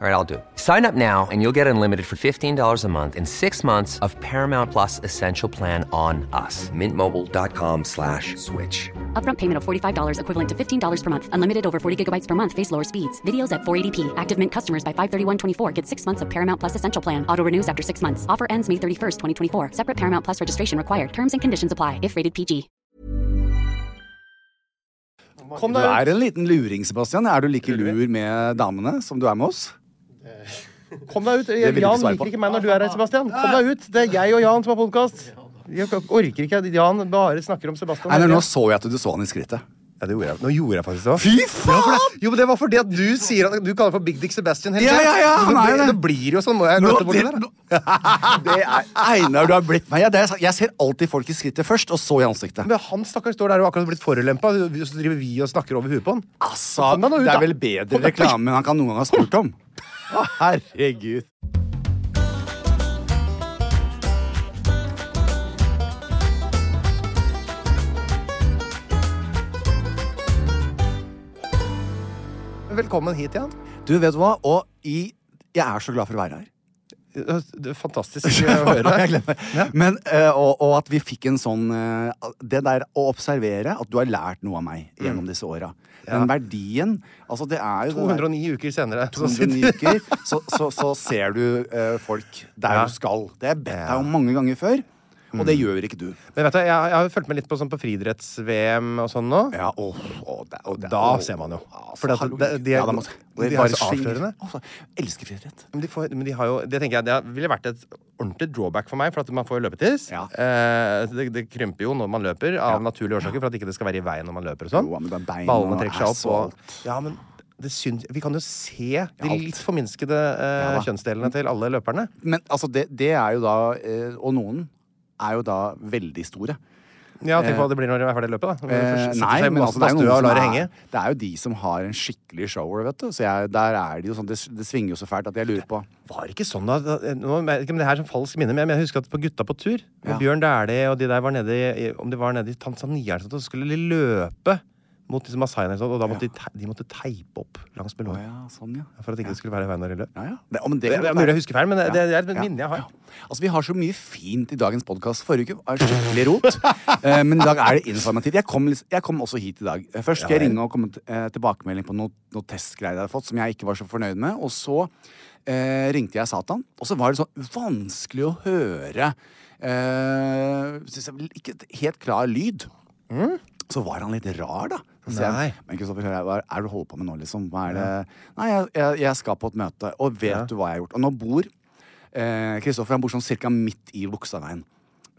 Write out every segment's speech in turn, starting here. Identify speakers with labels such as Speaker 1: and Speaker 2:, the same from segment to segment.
Speaker 1: All right, I'll do it. Sign up now and you'll get unlimited for $15 a month in six months of Paramount Plus Essential Plan on us. Mintmobile.com slash switch.
Speaker 2: Upfront payment of $45 equivalent to $15 per month. Unlimited over 40 gigabytes per month. Face lower speeds. Videos at 480p. Active Mint customers by 531.24 get six months of Paramount Plus Essential Plan. Auto renews after six months. Offer ends May 31st, 2024. Separate Paramount Plus registration required. Terms and conditions apply if rated PG.
Speaker 3: Kom
Speaker 4: Du
Speaker 3: deg
Speaker 4: er en liten luring, Sebastian. Er du like lur med damene som du er med oss?
Speaker 3: ut. Kom deg ut. Jan
Speaker 4: vil jeg ikke svare
Speaker 3: liker
Speaker 4: på.
Speaker 3: ikke meg når du er her, Sebastian. Kom deg ut. Det er jeg og Jan som har podkast. Jeg orker ikke at Jan bare snakker om Sebastian.
Speaker 4: Nei, nei, nå så jeg at du så han i skrittet.
Speaker 5: Ja, det gjorde jeg. Nå gjorde jeg faktisk det.
Speaker 4: Fy faen!
Speaker 5: Ja, for det- Jo, men det var fordi at du sier at du kaller for Big Dick Sebastian hele
Speaker 4: Ja,
Speaker 5: tiden.
Speaker 4: ja, ja,
Speaker 5: Så det,
Speaker 4: han er
Speaker 5: blir-
Speaker 4: det.
Speaker 5: det blir jo sånn. Må jeg
Speaker 4: Nå,
Speaker 5: møte borti
Speaker 4: det,
Speaker 5: der, da?
Speaker 4: det er Einar, du har blitt meg. Ja, det er, jeg ser alltid folk i skrittet først, og så i ansiktet.
Speaker 5: Men han stakkars står der og akkurat har blitt forulempa, og så driver vi og snakker over huet på han.
Speaker 4: Altså,
Speaker 3: Kom deg nå ut,
Speaker 4: Det
Speaker 3: da.
Speaker 4: er vel bedre reklame enn han kan noen gang ha spurt om.
Speaker 5: Å, herregud. Velkommen hit, Jan.
Speaker 4: Du, vet du hva? Og i, jeg er så glad for å være her.
Speaker 5: Det er fantastisk å høre
Speaker 4: Jeg
Speaker 5: deg.
Speaker 4: glemmer. Men, eh, og, og at vi fikk en sånn eh, Det der å observere at du har lært noe av meg gjennom disse åra. Den verdien altså det er jo det der-
Speaker 5: 209 uker senere. så
Speaker 4: 209
Speaker 5: sitter-
Speaker 4: uker, så, så, så ser du eh, folk der
Speaker 5: Ja.
Speaker 4: du skal. Det har jeg bedt deg om mange ganger før, og det gjør ikke du.
Speaker 5: Men vet du, jeg, jeg har jo fulgt med litt på, sånn på friidretts-VM og sånn nå.
Speaker 4: Ja, åh, åh, det- åh, det-
Speaker 5: Da
Speaker 4: åh.
Speaker 5: ser man jo.
Speaker 4: Altså,
Speaker 5: Fordi at
Speaker 4: hallo.
Speaker 5: det- de er-
Speaker 4: Ja, da må-
Speaker 5: de er
Speaker 4: bare
Speaker 5: så
Speaker 4: svinger.
Speaker 5: avslørende.
Speaker 4: Åh, Elsker friidrett.
Speaker 5: Men de, får, men de har jo Det tenker jeg Det ville vært et ordentlig drawback for meg, for at man får jo løpetiss.
Speaker 4: Ja.
Speaker 5: Eh, det, det krymper jo når man løper, av naturlige årsaker, for at ikke det skal være i veien når man løper og sånn.
Speaker 4: Jo, men det er bein
Speaker 5: Ballene
Speaker 4: og
Speaker 5: trekker seg opp
Speaker 4: asfalt.
Speaker 5: og Ja, men det syns Vi kan jo se de
Speaker 4: alt.
Speaker 5: litt forminskede eh,
Speaker 4: Ja, da.
Speaker 5: kjønnsdelene til alle løperne.
Speaker 4: Men altså, det, det er jo da eh, Og noen er jo da veldig store.
Speaker 5: Ja, tenk hva det blir når de er ferdig i løpet, da. Når de
Speaker 4: Eh,
Speaker 5: først setter
Speaker 4: nei,
Speaker 5: seg i
Speaker 4: men altså, det, er
Speaker 5: badstua
Speaker 4: noen
Speaker 5: og
Speaker 4: som
Speaker 5: lar det
Speaker 4: er,
Speaker 5: henge.
Speaker 4: det er jo de som har en skikkelig shower, vet du. Så jeg, der er det jo sånn det, det svinger jo så fælt at jeg lurer på
Speaker 5: Var det ikke sånn da Nå merker jeg ikke om det her er som falsk minne, men jeg- men jeg husker at på Gutta på tur, med
Speaker 4: Ja.
Speaker 5: Bjørn Dæhlie og de der var nede i, om de var nede i Tanzania eller sånt, og så skulle de løpe mot disse masaiene, og sånt, og da måtte de, te, de måtte teipe opp langs med
Speaker 4: Å
Speaker 5: låret.
Speaker 4: ja, sånn, ja.
Speaker 5: For at ikke det skulle være i veien når de løp.
Speaker 4: Ja, ja. Det, å, men
Speaker 5: Det det
Speaker 4: det, kan
Speaker 5: er
Speaker 4: godt
Speaker 5: mulig
Speaker 4: være.
Speaker 5: jeg husker feil, men det, det er et
Speaker 4: Ja,
Speaker 5: minne jeg har.
Speaker 4: ja. Altså, Vi har så mye fint i dagens podkast. Forrige uke var skikkelig rot. eh, men i dag er det informativt. Jeg kom, litt- jeg kom også hit i dag. Eh, Først skal jeg ringe og komme t eh, tilbakemelding på noe, noe testgreier jeg har fått som jeg ikke var så fornøyd med. Og så eh, ringte jeg Satan, og så var det sånn vanskelig å høre eh, synes jeg, vel Ikke et helt klar lyd. Så var han litt rar, da. Så sier
Speaker 5: Nei.
Speaker 4: jeg, men Kristoffer, hør her, hva er det du holder på med nå, liksom? Hva er det? Nei, jeg, jeg, jeg skal på et møte, og vet du hva jeg har gjort? Og nå bor eh, Kristoffer han bor sånn cirka midt i Bogstadveien.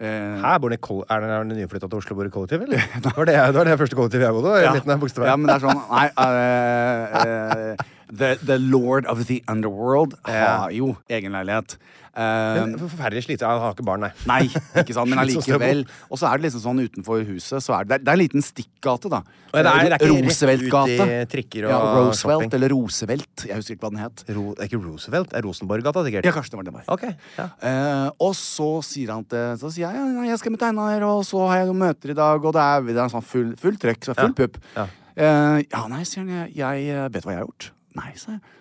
Speaker 4: Eh,
Speaker 5: Her bor de i koll- Er den nyflytta til Oslo bor i kollektiv, eller? Det var det, det, var det første kollektivet jeg bodde i.
Speaker 4: ja.
Speaker 5: midten av Bogstadveien.
Speaker 4: ja, men det er sånn Nei, eh, eh, the, the lord of the underworld har jo egen leilighet. Eh,
Speaker 5: Men Forferdelig slitsomt. Han har ikke barn, nei.
Speaker 4: Nei, ikke sant, men
Speaker 5: Litt sånn
Speaker 4: allikevel. Og så er det liksom sånn utenfor huset så er det, det er en liten stikkgate, da.
Speaker 5: Ja, det er- det er ikke rett
Speaker 4: Roosevelt-gate.
Speaker 5: ut i trikker og
Speaker 4: ja, Roosevelt,
Speaker 5: shopping.
Speaker 4: eller Roosevelt. Jeg husker ikke hva den het.
Speaker 5: Ro, det er ikke Roosevelt, det er Rosenborggata, sikkert.
Speaker 4: Ja, kanskje det var det bare.
Speaker 5: Ok, ja.
Speaker 4: Eh, og så sier han til Så sier jeg ja, nei, jeg skal med Einar, og så har jeg noen møter i dag, og det er, det er sånn full, full trøkk, så full pupp.
Speaker 5: Ja.
Speaker 4: Eh, ja, nei, sier han. Jeg, jeg vet hva jeg har gjort. Nei, sa jeg.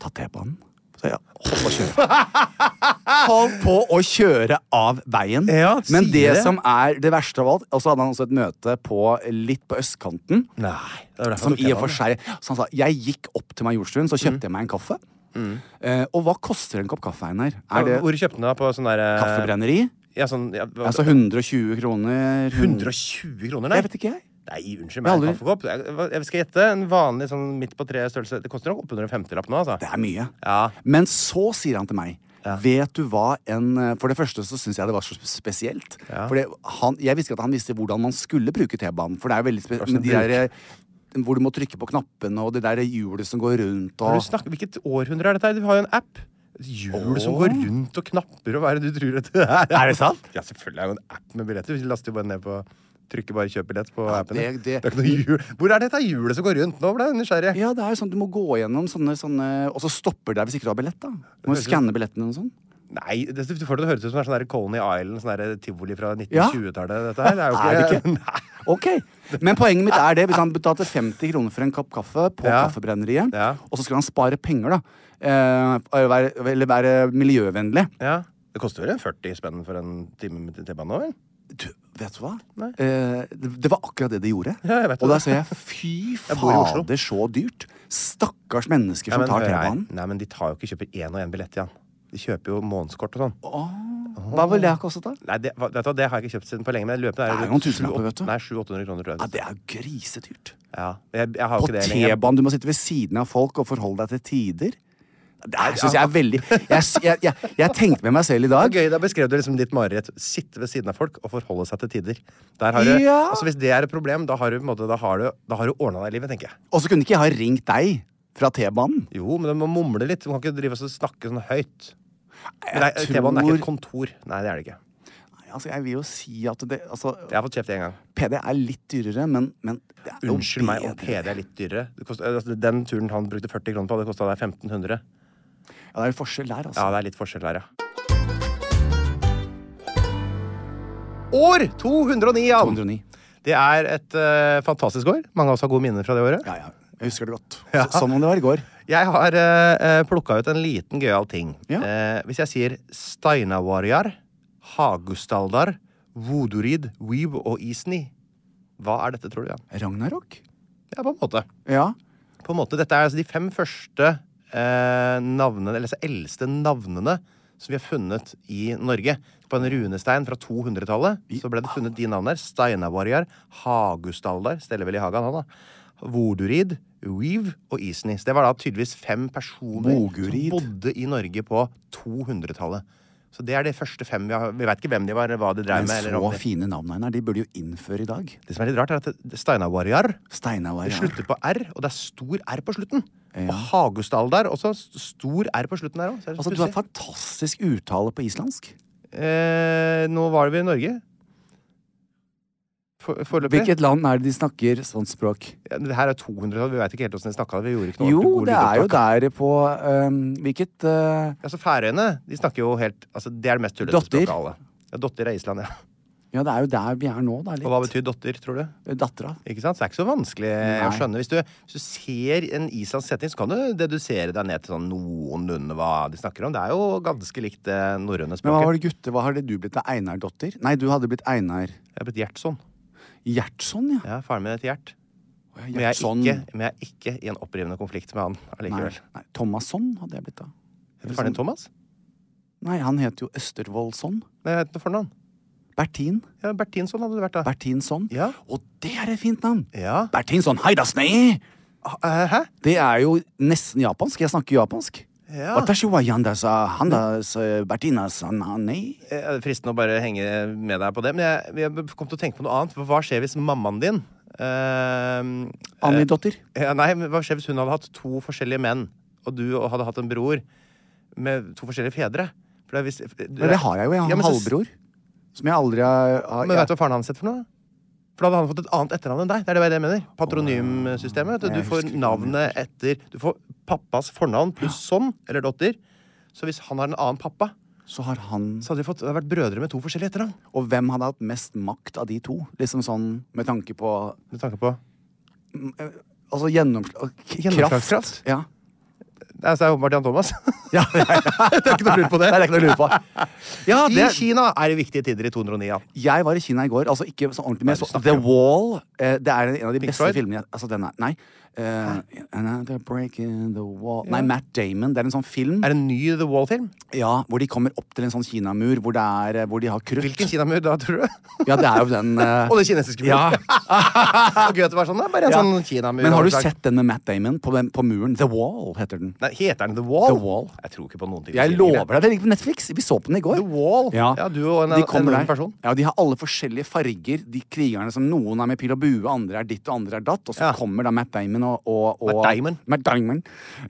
Speaker 4: Ta T-banen. Så jeg holdt på å kjøre. Holdt på å kjøre av veien.
Speaker 5: Ja,
Speaker 4: Men
Speaker 5: sier
Speaker 4: det,
Speaker 5: det.
Speaker 4: som er det verste av alt Og så hadde han også et møte på, litt på østkanten.
Speaker 5: Nei. Det er derfor
Speaker 4: Som
Speaker 5: tok
Speaker 4: i
Speaker 5: jeg
Speaker 4: og for
Speaker 5: den.
Speaker 4: seg Så han sa jeg gikk opp til Majorstuen, så
Speaker 5: Mm.
Speaker 4: kjøpte jeg meg en kaffe. Eh, og hva koster en kopp kaffe, Einar? Er det
Speaker 5: Hvor kjøpte den da? På sånn derre
Speaker 4: kaffebrenneri?
Speaker 5: Ja, sånn ja, hva-
Speaker 4: Altså 120 kroner?
Speaker 5: 120 kroner, nei?
Speaker 4: Jeg vet ikke, jeg.
Speaker 5: Nei, unnskyld meg.
Speaker 4: Jeg
Speaker 5: en Kaffekopp. Jeg, hva- jeg skal gjette. En vanlig sånn midt på treet størrelse. Det koster nok oppunder en 50-lapp nå, altså.
Speaker 4: Det er mye.
Speaker 5: Ja.
Speaker 4: Men så sier han til meg Vet du hva en eh, For det første så syns jeg det var så spesielt. Fordi han, jeg visste ikke at han visste hvordan man skulle bruke T-banen. For det er jo veldig spesielt med de
Speaker 5: bruk.
Speaker 4: der eh, hvor du må trykke på knappene, og det der hjulet som går rundt
Speaker 5: Når
Speaker 4: og
Speaker 5: du snakker, hvilket århundre er dette? her? Du har jo en app. Et Hjul som går rundt og knapper og hva er det du tror dette er?
Speaker 4: Er det sant?
Speaker 5: Ja, selvfølgelig er det jo en app med billetter. Vi laster jo bare ned på Trykker bare 'kjøp billett' på appen.
Speaker 4: det-
Speaker 5: ja.
Speaker 4: det-
Speaker 5: er ikke noe hjul. Hvor er dette hjulet som går rundt? Nå ble jeg nysgjerrig.
Speaker 4: Ja, det er jo sånn at du må gå gjennom sånne, sånne Og så stopper det deg hvis ikke du har billett, da. Du må jo skanne sånn. billetten eller noe sånt.
Speaker 5: Nei, det, du får det til å høres ut som det er sånn der Coney Island, sånn der tivoli fra
Speaker 4: Ja.
Speaker 5: 1920-tallet. Dette her. Det er jo
Speaker 4: Er det ikke?
Speaker 5: Nei.
Speaker 4: Ok, Men poenget mitt er det hvis han betalte 50 kroner for en kopp kaffe på
Speaker 5: Ja.
Speaker 4: Kaffebrenneriet,
Speaker 5: Ja.
Speaker 4: og så skulle han spare penger, da. Eh, eller være, eller være miljøvennlig.
Speaker 5: Ja. Det koster vel en 40 spenn for en time med T-banen nå, vel?
Speaker 4: Du, vet du hva?
Speaker 5: Nei.
Speaker 4: Eh, det, det var akkurat det de gjorde.
Speaker 5: Ja, jeg vet
Speaker 4: og
Speaker 5: det.
Speaker 4: da sa jeg fy
Speaker 5: bor i Oslo.
Speaker 4: fader, så dyrt. Stakkars mennesker som
Speaker 5: men
Speaker 4: tar
Speaker 5: hør her.
Speaker 4: T-banen.
Speaker 5: Nei, men de tar jo ikke kjøper én og én billett igjen. De kjøper jo månedskort og sånn.
Speaker 4: Hva ville det ha kostet, da?
Speaker 5: Nei, det, vet du, hva, det har jeg ikke kjøpt siden på lenge. Men løpende
Speaker 4: Det er
Speaker 5: rundt
Speaker 4: jo noen tusenlapper,
Speaker 5: sju-
Speaker 4: vet du.
Speaker 5: Nei, 700-800 kroner, tror jeg.
Speaker 4: Ja, Det er jo grisedyrt.
Speaker 5: Ja. Jeg, jeg har jo
Speaker 4: På
Speaker 5: ikke det lenger.
Speaker 4: T-banen. Du må sitte ved siden av folk og forholde deg til tider. Det er, synes jeg er veldig jeg, jeg, jeg, jeg tenkte med meg selv i
Speaker 5: Det
Speaker 4: dag
Speaker 5: var gøy, Da beskrev du liksom ditt mareritt. Sitte ved siden av folk og forholde seg til tider. Der har du,
Speaker 4: Ja.
Speaker 5: altså Hvis det er et problem, da har du, på en måte, da har du, da har du ordna deg i livet, tenker jeg.
Speaker 4: Og så kunne ikke jeg ha ringt deg fra T-banen.
Speaker 5: Jo, men du må mumle litt. Du kan ikke drive og snakke sånn høyt. Nei,
Speaker 4: Jeg
Speaker 5: T-banen er ikke et
Speaker 4: tror-
Speaker 5: kontor. Nei, det er det ikke.
Speaker 4: Nei, Altså, jeg vil jo si at det altså,
Speaker 5: Jeg har fått kjeft én gang.
Speaker 4: PD er litt dyrere, men, men det er jo
Speaker 5: Unnskyld meg om
Speaker 4: bedre.
Speaker 5: PD er litt dyrere. Det kost, altså, den turen han brukte 40 kroner på, det kosta deg 1500.
Speaker 4: Ja, det er jo forskjell der, altså.
Speaker 5: Ja, det er litt forskjell der, ja. År 209, Jan!
Speaker 4: 209.
Speaker 5: Det er et eh, fantastisk år. Mange av oss har gode minner fra det året.
Speaker 4: Ja, ja. Jeg husker det godt. Så, sånn om det var i går.
Speaker 5: Jeg har uh, plukka ut en liten gøyal ting.
Speaker 4: Ja.
Speaker 5: Eh, hvis jeg sier Steinavarjar, Hagustaldar, Vodorid, Weeb og Isni, hva er dette, tror du? Jan?
Speaker 4: Ragnarok?
Speaker 5: Ja, på en måte.
Speaker 4: Ja.
Speaker 5: På en måte, Dette er altså de fem første eh, navnene, eller altså eldste navnene som vi har funnet i Norge. På en runestein fra 200-tallet så ble det funnet de navnene her. Steinavarjar, Hagustaldar Steller vel i hagen, han, da. Vodurid, Weave og Isni. Så det var da tydeligvis fem personer
Speaker 4: Vogurid.
Speaker 5: som bodde i Norge på 200-tallet. Så det er de første fem vi har Vi veit ikke hvem de var, hva de drev
Speaker 4: Men
Speaker 5: med. Eller
Speaker 4: så
Speaker 5: om de.
Speaker 4: fine navn, Einar. De burde jo innføre i dag.
Speaker 5: Det som er litt rart, er at Steinavarjar
Speaker 4: Steinar var
Speaker 5: det
Speaker 4: ja.
Speaker 5: slutter på R, og det er stor R på slutten. Og Hagustad der også. st- Stor R på slutten der òg.
Speaker 4: Altså, du har fantastisk uttale på islandsk.
Speaker 5: eh, nå var det vi i Norge. For- Foreløpig.
Speaker 4: Hvilket land er det de snakker sånt språk?
Speaker 5: Ja, Det her er 200, vi veit ikke helt åssen de snakka det. Vi gjorde ikke noe
Speaker 4: Jo,
Speaker 5: ordentlig god
Speaker 4: det er jo
Speaker 5: lydopptak.
Speaker 4: der på øhm, Hvilket øh,
Speaker 5: Altså, Færøyene de snakker jo helt altså, Det er det mest tullete
Speaker 4: Dotter.
Speaker 5: språket av alle. Ja, dotter er Island, ja.
Speaker 4: Ja, det er jo der vi er nå, da.
Speaker 5: Og hva
Speaker 4: Litt.
Speaker 5: betyr dotter, tror du?
Speaker 4: Dattera.
Speaker 5: Ikke sant? Så det er ikke så vanskelig å skjønne. Hvis du, hvis du ser en islandsk setting, så kan du dedusere deg ned til sånn noenlunde hva de snakker om. Det er jo ganske likt det norrøne
Speaker 4: Men hva
Speaker 5: språket.
Speaker 4: var det gutte? Hva har det du blitt av Einar-dotter? Nei, du hadde blitt Einar
Speaker 5: Jeg er blitt Gjertsson.
Speaker 4: Gjertson, ja.
Speaker 5: Ja, faren min heter Gjert.
Speaker 4: Å,
Speaker 5: Men jeg, er
Speaker 4: Gjertson.
Speaker 5: ikke, men jeg er ikke i en opprivende konflikt med han
Speaker 4: Nei,
Speaker 5: allikevel.
Speaker 4: nei, Thomasson hadde jeg blitt av.
Speaker 5: Heter faren din Thomas?
Speaker 4: Nei, han het jo Østervoldsson.
Speaker 5: Nei, jeg heter noe fornavn.
Speaker 4: Bertin.
Speaker 5: Ja, Bertinsson hadde du vært da.
Speaker 4: Bertinsson.
Speaker 5: Ja.
Speaker 4: Og det er et fint navn!
Speaker 5: Ja.
Speaker 4: Bertinsson Heidasnei!
Speaker 5: Eh, Hæ?
Speaker 4: Det er jo nesten japansk. Jeg snakker japansk.
Speaker 5: Ja.
Speaker 4: Watashiwa yandasa handas eh, Bertinas hanei.
Speaker 5: Eh, Det er fristende å bare henge med deg på det, men jeg, jeg kom til å tenke på noe annet. Hva skjer hvis mammaen din eh,
Speaker 4: Annidotter.
Speaker 5: Ja, nei, men Hva skjer hvis hun hadde hatt to forskjellige menn, og du hadde hatt en bror med to forskjellige fedre? For det er hvis,
Speaker 4: Men det har jeg jo. Jeg har
Speaker 5: Ja,
Speaker 4: en
Speaker 5: men så-
Speaker 4: halvbror. Som jeg aldri har har-
Speaker 5: Men
Speaker 4: ja.
Speaker 5: vet du hva faren hans het for noe? For da hadde han fått et annet etternavn enn deg. Det er det bare det jeg mener. Patronymsystemet. vet Du,
Speaker 4: Jeg
Speaker 5: du får
Speaker 4: husker ikke hva han
Speaker 5: navnet etter Du får pappas fornavn pluss sånn, eller dotter. Så hvis han har en annen pappa,
Speaker 4: Så har han
Speaker 5: så hadde de fått, vært brødre med to forskjellige etternavn.
Speaker 4: Og hvem hadde hatt mest makt av de to? Liksom sånn med tanke på
Speaker 5: Med tanke på
Speaker 4: Altså gjennomslag... Kraft.
Speaker 5: Gjennomslagskraft?
Speaker 4: Ja.
Speaker 5: Det er så er det åpenbart Jan Thomas.
Speaker 4: Ja, ja, ja.
Speaker 5: Det er ikke noe å lure på det.
Speaker 4: Nei, det er ikke noe å lure på. Ja,
Speaker 5: I
Speaker 4: det,
Speaker 5: Kina er det viktige tider i 209. Ja.
Speaker 4: jeg var i Kina i går. Altså ikke så ordentlig, men jeg
Speaker 5: Hva er det du
Speaker 4: så The
Speaker 5: snakker om?
Speaker 4: Wall. eh, Det er en av de
Speaker 5: Pink
Speaker 4: beste
Speaker 5: Floyd?
Speaker 4: filmene jeg Altså, den er Nei. Eh, and now they're breaking the wall Nei, Matt Damon. Det er en sånn film
Speaker 5: Er det en ny The Wall-film?
Speaker 4: ja, hvor de kommer opp til en sånn kinamur hvor, det er, eh, hvor de har krutt.
Speaker 5: Hvilken kinamur da, tror du?
Speaker 4: Ja, det er jo den eh,
Speaker 5: Og det kinesiske muren.
Speaker 4: Ja.
Speaker 5: Og Goethe var sånn, det er bare en
Speaker 4: Ja.
Speaker 5: sånn kinamur.
Speaker 4: Men har du
Speaker 5: overslag.
Speaker 4: sett den med Matt Damon på, den, på muren? The Wall heter den.
Speaker 5: Nei, heter den The Wall?
Speaker 4: The Wall.
Speaker 5: Jeg tror ikke på noen ting.
Speaker 4: Jeg lover deg, det ligger på Netflix. Vi så på den i går.
Speaker 5: The Wall.
Speaker 4: Ja,
Speaker 5: Ja, du og en-
Speaker 4: De kommer
Speaker 5: en
Speaker 4: der.
Speaker 5: annen person.
Speaker 4: Ja, De har alle forskjellige farger. De krigerne som Noen er med pil og bue, andre er ditt, og andre er datt. Og så
Speaker 5: Ja.
Speaker 4: kommer da Matt Damon og, og, og
Speaker 5: Matt Damon.
Speaker 4: Matt Damon.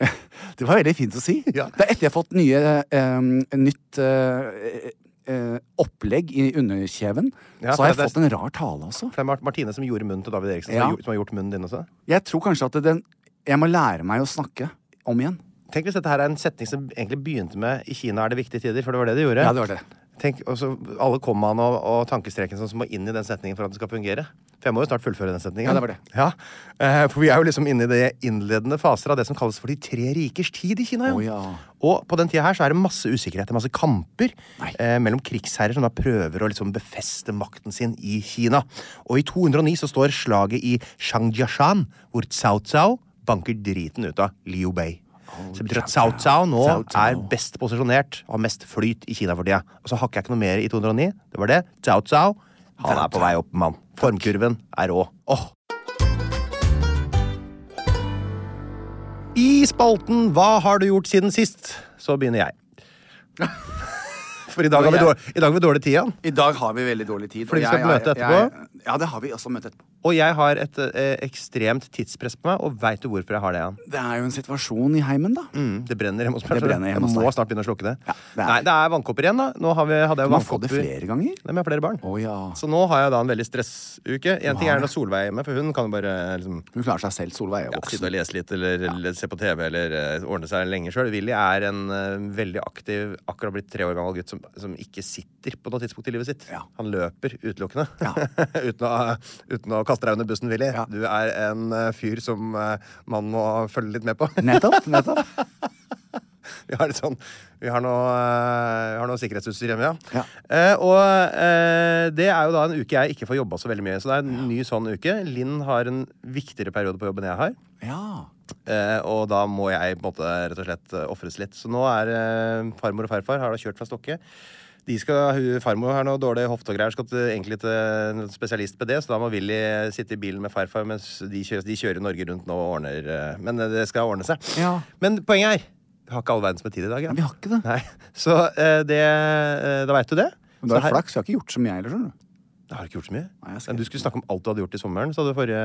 Speaker 4: Det var veldig fint å si.
Speaker 5: Ja.
Speaker 4: Det er etter jeg har fått nye, eh, nytt eh, eh, opplegg i underkjeven,
Speaker 5: Ja,
Speaker 4: så har
Speaker 5: for det
Speaker 4: jeg
Speaker 5: er-
Speaker 4: fått en rar tale også.
Speaker 5: For det er Mar- Martine som gjorde munnen til David Eriksen.
Speaker 4: Ja.
Speaker 5: Som, har gjort, som har gjort munnen din også.
Speaker 4: Jeg tror kanskje at den Jeg må lære meg å snakke om igjen.
Speaker 5: Tenk hvis dette her er en setning som egentlig begynte med 'I Kina er det viktige tider', for det var det det gjorde.
Speaker 4: Ja, det var det.
Speaker 5: Tenk, og så Alle kommaene og, og tankestreken som må inn i den setningen for at den skal fungere. For jeg må jo snart fullføre den setningen.
Speaker 4: Ja, det var det.
Speaker 5: Ja, eh, For vi er jo liksom inne i de innledende faser av det som kalles for de tre rikers tid i Kina. jo.
Speaker 4: Å, ja.
Speaker 5: Og på den tida her så er det masse usikkerhet, det er masse kamper
Speaker 4: Nei.
Speaker 5: eh, mellom krigsherrer som da prøver å liksom befeste makten sin i Kina. Og i 209 så står slaget i Shangjiashan, hvor Cao Cao banker driten ut av Liu Bei. Så det betyr at Cao Cao nå
Speaker 4: Cao Cao.
Speaker 5: er best posisjonert og har mest flyt i Kina for tida. Og så hakker jeg ikke noe mer i 209. Det var det. Cao Cao. Han er på vei opp, mann. Formkurven er rå. Åh. I spalten Hva har du gjort siden sist? Så begynner jeg. For i dag har vi dårlig, i dag har vi dårlig tid igjen.
Speaker 4: I dag har vi veldig dårlig tid.
Speaker 5: Fordi vi
Speaker 4: og
Speaker 5: skal
Speaker 4: jeg-
Speaker 5: på møte
Speaker 4: jeg-
Speaker 5: etterpå?
Speaker 4: Jeg, ja, det har vi også møte etterpå.
Speaker 5: Og jeg har et eh, ekstremt tidspress på meg, og veit du hvorfor jeg har det? Jan?
Speaker 4: Det er jo en situasjon i heimen, da.
Speaker 5: Mm, det brenner hjemme hos meg.
Speaker 4: Det brenner hjemme hos
Speaker 5: jeg må
Speaker 4: deg.
Speaker 5: snart begynne å slukke det.
Speaker 4: Ja, det er-
Speaker 5: Nei, det er vannkopper igjen, da. Nå har vi, hadde jeg
Speaker 4: Man får
Speaker 5: vannkopper.
Speaker 4: det flere ganger.
Speaker 5: Nei, men jeg har flere barn.
Speaker 4: Å, ja.
Speaker 5: Så nå har jeg da en veldig stressuke. En ting er når Solveig er hjemme, for hun kan jo bare liksom
Speaker 4: Hun klarer seg selv. Solveig
Speaker 5: ja,
Speaker 4: er
Speaker 5: sitte
Speaker 4: voksen.
Speaker 5: og lese litt eller, eller se på TV eller eh, ordne seg lenge sjøl. Willy er en eh, veldig aktiv, akkurat blitt tre år gammel gutt som, som ikke sitter på noe tidspunkt i livet sitt.
Speaker 4: Ja.
Speaker 5: Han løper utelukkende.
Speaker 4: Ja.
Speaker 5: uten, å, uten å kaste deg under bussen, Willy.
Speaker 4: Ja.
Speaker 5: Du er en eh, fyr som eh, man må følge litt med på.
Speaker 4: Nettopp. nettopp.
Speaker 5: Vi har, litt sånn, vi har, noe, eh, vi har noe sikkerhetsutstyr hjemme, ja.
Speaker 4: Ja.
Speaker 5: Eh, og eh, det er jo da en uke jeg ikke får jobba så veldig mye. Så det er en ny sånn uke. Linn har en viktigere periode på jobb enn jeg har.
Speaker 4: Ja.
Speaker 5: Eh, og da må jeg på en måte rett og slett eh, ofres litt. Så nå er eh, farmor og farfar har da kjørt fra Stokke. De skal, hun- farmor har noe dårlig hofte og greier, skal til, egentlig til en spesialist på det. Så da må Willy eh, sitte i bilen med farfar mens de kjører, de kjører Norge rundt nå og ordner eh, Men det skal ordne seg.
Speaker 4: Ja.
Speaker 5: Men poenget er vi har ikke all verdens med tid i dag. Ja.
Speaker 4: Nei, vi har ikke det.
Speaker 5: Nei. Så eh, det eh, Da veit du det.
Speaker 4: Men da
Speaker 5: Så
Speaker 4: er det
Speaker 5: her-
Speaker 4: flaks. Jeg har ikke gjort som jeg heller, skjønner du.
Speaker 5: Jeg har ikke gjort så mye.
Speaker 4: Nei, jeg skal
Speaker 5: Men du
Speaker 4: ikke.
Speaker 5: skulle snakke om alt du hadde gjort i sommeren. Så hadde du forrige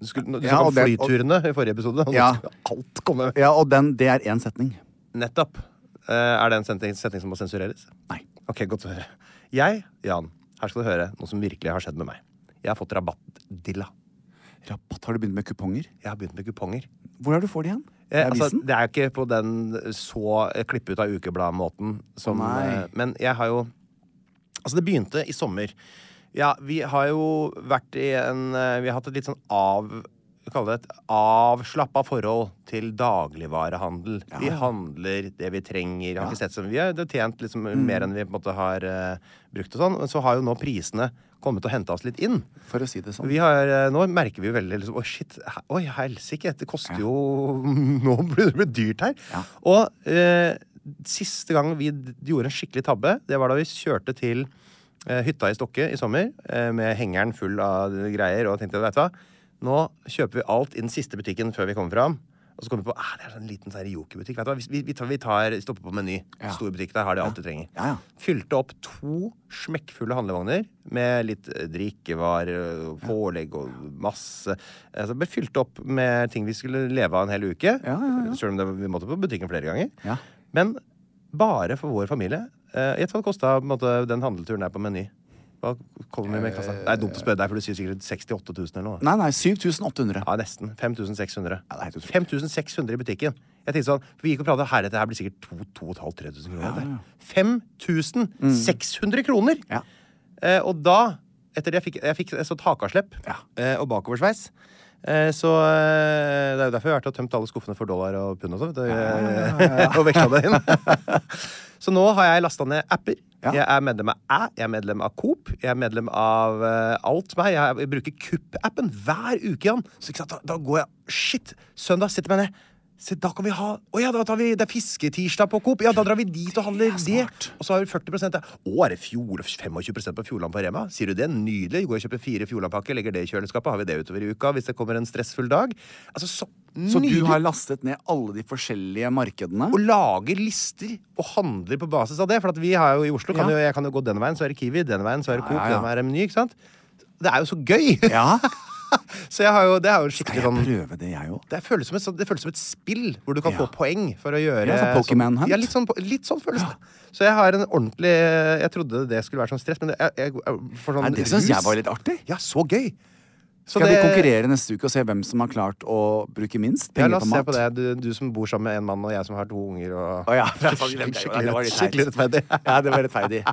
Speaker 5: Du, skulle, du
Speaker 4: Ja,
Speaker 5: snakket
Speaker 4: og
Speaker 5: om
Speaker 4: det- og-
Speaker 5: flyturene i forrige episode. og nå
Speaker 4: Ja.
Speaker 5: skulle Alt komme
Speaker 4: Ja, og den, det er én setning.
Speaker 5: Nettopp. Eh, er det en setning, setning som må sensureres?
Speaker 4: Nei.
Speaker 5: Ok, godt å høre. Jeg, Jan, her skal du høre noe som virkelig har skjedd med meg. Jeg har fått rabattdilla.
Speaker 4: Rabatt. Har du begynt med kuponger?
Speaker 5: Jeg har begynt med kuponger.
Speaker 4: Hvor er det du får de igjen? I
Speaker 5: Eh, altså,
Speaker 4: avisen?
Speaker 5: det er jo ikke på den så eh, klippe ut av ukebladet-måten som
Speaker 4: Å, nei.
Speaker 5: eh, Men jeg har jo Altså, det begynte i sommer. Ja, vi har jo vært i en eh, Vi har hatt et litt sånn av vi kaller det et avslappa forhold til dagligvarehandel. Vi handler det vi trenger. Har ikke sett som vi har det har tjent liksom
Speaker 4: Mm.
Speaker 5: mer enn vi på en måte har eh, brukt og sånn. Men så har jo nå prisene kommet og henta oss litt inn.
Speaker 4: For å si det sånn.
Speaker 5: Vi har, eh, nå merker vi jo veldig liksom, Oi, shit. he- Oi, helsike. Det koster jo Nå blir det blir dyrt her.
Speaker 4: Ja.
Speaker 5: Og eh, siste gang vi d- gjorde en skikkelig tabbe, det var da vi kjørte til eh, hytta i Stokke i sommer eh, med hengeren full av greier og tenkte, vet du hva, nå kjøper vi alt i den siste butikken før vi kommer fram. Og så kommer vi på ah, det er en liten sånn yoki-butikk. Vet du hva, Vi, vi, tar, vi tar, stopper på Meny.
Speaker 4: Ja.
Speaker 5: Stor butikk. Der har de alt du trenger.
Speaker 4: Ja, ja.
Speaker 5: Fylte opp to smekkfulle handlevogner med litt eh, drikkevarer, og pålegg og masse altså, ble Fylt opp med ting vi skulle leve av en hel uke.
Speaker 4: Ja, ja, ja.
Speaker 5: Selv om det, vi måtte på butikken flere ganger.
Speaker 4: Ja.
Speaker 5: Men bare for vår familie. Eh, Gjett hva det kosta den handleturen der på Meny. Hva kommer vi med i kassa?
Speaker 4: Eh,
Speaker 5: Det er dumt å spørre deg, for du sier sikkert 68 000 eller noe.
Speaker 4: Nei, nei. 7800.
Speaker 5: Ja, nesten. 5600.
Speaker 4: Ja, det er helt utrolig.
Speaker 5: 5600 i butikken. Jeg tenkte sånn, for Vi gikk og pratet her, dette her blir sikkert 2500-3000 kroner. dette. 5600 kroner!
Speaker 4: Ja.
Speaker 5: Eh, og da, etter det jeg fikk, jeg fikk et sånt hakaslepp
Speaker 4: Ja.
Speaker 5: eh, og bakoversveis Eh, Så eh, det er jo derfor vi har vært og tømt alle skuffene for dollar og pund og sånn. vet du, eh, Og veksla det inn. Så nå har jeg lasta ned apper.
Speaker 4: Ja.
Speaker 5: Jeg er medlem av Æ, jeg er medlem av Coop, jeg er medlem av eh, alt meg. Jeg, er- jeg bruker Kupp-appen hver uke, Jan. Så ikke sant, da, da går jeg Shit! Søndag setter jeg meg ned. Se, da kan vi ha Å ja, da tar vi, det er fisketirsdag på Coop. Ja, da drar vi dit og handler det. Og så har vi 40 der. Å, er det fjol, 25 på Fjordland på Rema? Sier du det? Nydelig. Går og kjøper fire Fjordlandpakker, legger det i kjøleskapet. Har vi det utover i uka hvis det kommer en stressfull dag? Altså, så,
Speaker 4: Så du
Speaker 5: nydelig.
Speaker 4: har lastet ned alle de forskjellige markedene?
Speaker 5: Og lager lister og handler på basis av det. For at vi har jo i Oslo kan
Speaker 4: Ja.
Speaker 5: jo, Jeg kan jo gå denne veien, så er det Kiwi. Denne veien, så er det Coop.
Speaker 4: Ja, ja, ja.
Speaker 5: Denne veien er det Meny. Ikke sant? Det er jo så gøy!
Speaker 4: Ja.
Speaker 5: så jeg har jo, det er jo
Speaker 4: Skal
Speaker 5: skikkelig
Speaker 4: jeg
Speaker 5: sånn
Speaker 4: prøve det, jeg òg?
Speaker 5: det føles, som et, sånt- det føles som et spill hvor du kan få
Speaker 4: Ja.
Speaker 5: poeng for å gjøre
Speaker 4: Ja, sånn Pokémon
Speaker 5: sånn-
Speaker 4: Hunt.
Speaker 5: Ja, litt sånn, po- litt sånn føles det. Så jeg har en ordentlig Jeg trodde det skulle være sånn stress, men det, jeg, jeg, for sånn
Speaker 4: Nei, det syns
Speaker 5: rus-
Speaker 4: jeg var litt artig.
Speaker 5: Ja, så gøy! Så
Speaker 4: Skal vi
Speaker 5: det-
Speaker 4: konkurrere neste uke og se hvem som har klart å bruke minst
Speaker 5: Ja,
Speaker 4: penger
Speaker 5: la oss
Speaker 4: på
Speaker 5: se
Speaker 4: mat?
Speaker 5: på det. Du, du som bor sammen med en mann, og jeg som har to unger. Og...
Speaker 4: Å ja, det var-
Speaker 5: Skikkelig-
Speaker 4: det var- det var
Speaker 5: skikkelig skikkelig
Speaker 4: litt teit.
Speaker 5: rettferdig.
Speaker 4: Ja, det var rettferdig.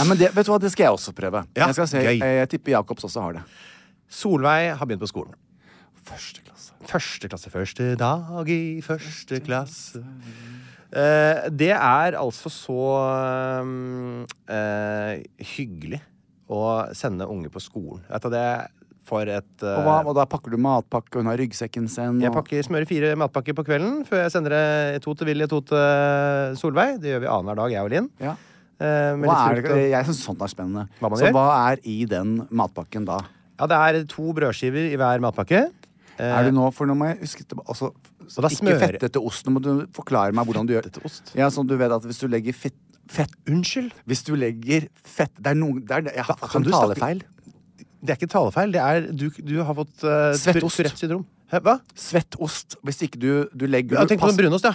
Speaker 4: Nei, men det, vet du hva, det skal jeg også prøve.
Speaker 5: Ja,
Speaker 4: jeg, skal se,
Speaker 5: gøy.
Speaker 4: jeg, jeg tipper Jacobs også har det.
Speaker 5: Solveig har begynt på skolen.
Speaker 4: Første klasse.
Speaker 5: Første klasse. Første dag i første klasse. Eh, det er altså så um, eh, hyggelig å sende unge på skolen. Vet du, det for et eh,
Speaker 4: Og, hva, og da pakker du matpakke, og hun har ryggsekken sin.
Speaker 5: Jeg
Speaker 4: og-
Speaker 5: pakker, smører fire matpakker på kvelden før jeg sender det to til Willy og to til Solveig. Det gjør vi annenhver dag, jeg og Linn.
Speaker 4: Ja.
Speaker 5: Eh, med
Speaker 4: Hva
Speaker 5: litt
Speaker 4: er
Speaker 5: frukt
Speaker 4: det,
Speaker 5: og-
Speaker 4: jeg syns sånt er spennende.
Speaker 5: Hva man
Speaker 4: så
Speaker 5: gjør?
Speaker 4: hva er i den matpakken da?
Speaker 5: Ja, det er to brødskiver i hver matpakke.
Speaker 4: Er det nå, for nå må jeg huske tilba- altså,
Speaker 5: Og Eh. da
Speaker 4: Ikke
Speaker 5: smører-
Speaker 4: fettete ost. Nå må du forklare meg hvordan du gjør
Speaker 5: Fettete ost?
Speaker 4: Ja, sånn du vet at hvis du legger fett, fett
Speaker 5: Unnskyld?
Speaker 4: Hvis du legger fett Det er noen det er, Jeg har fått
Speaker 5: kan
Speaker 4: en
Speaker 5: du snakke-
Speaker 4: talefeil.
Speaker 5: Det er ikke talefeil. Det er, du, du har fått uh,
Speaker 4: Svettost.
Speaker 5: Tourettes syndrom. Hæ, hva?
Speaker 4: Svett ost. Hvis ikke du, du legger
Speaker 5: Ja, tenk på
Speaker 4: pass-
Speaker 5: den brunost, ja.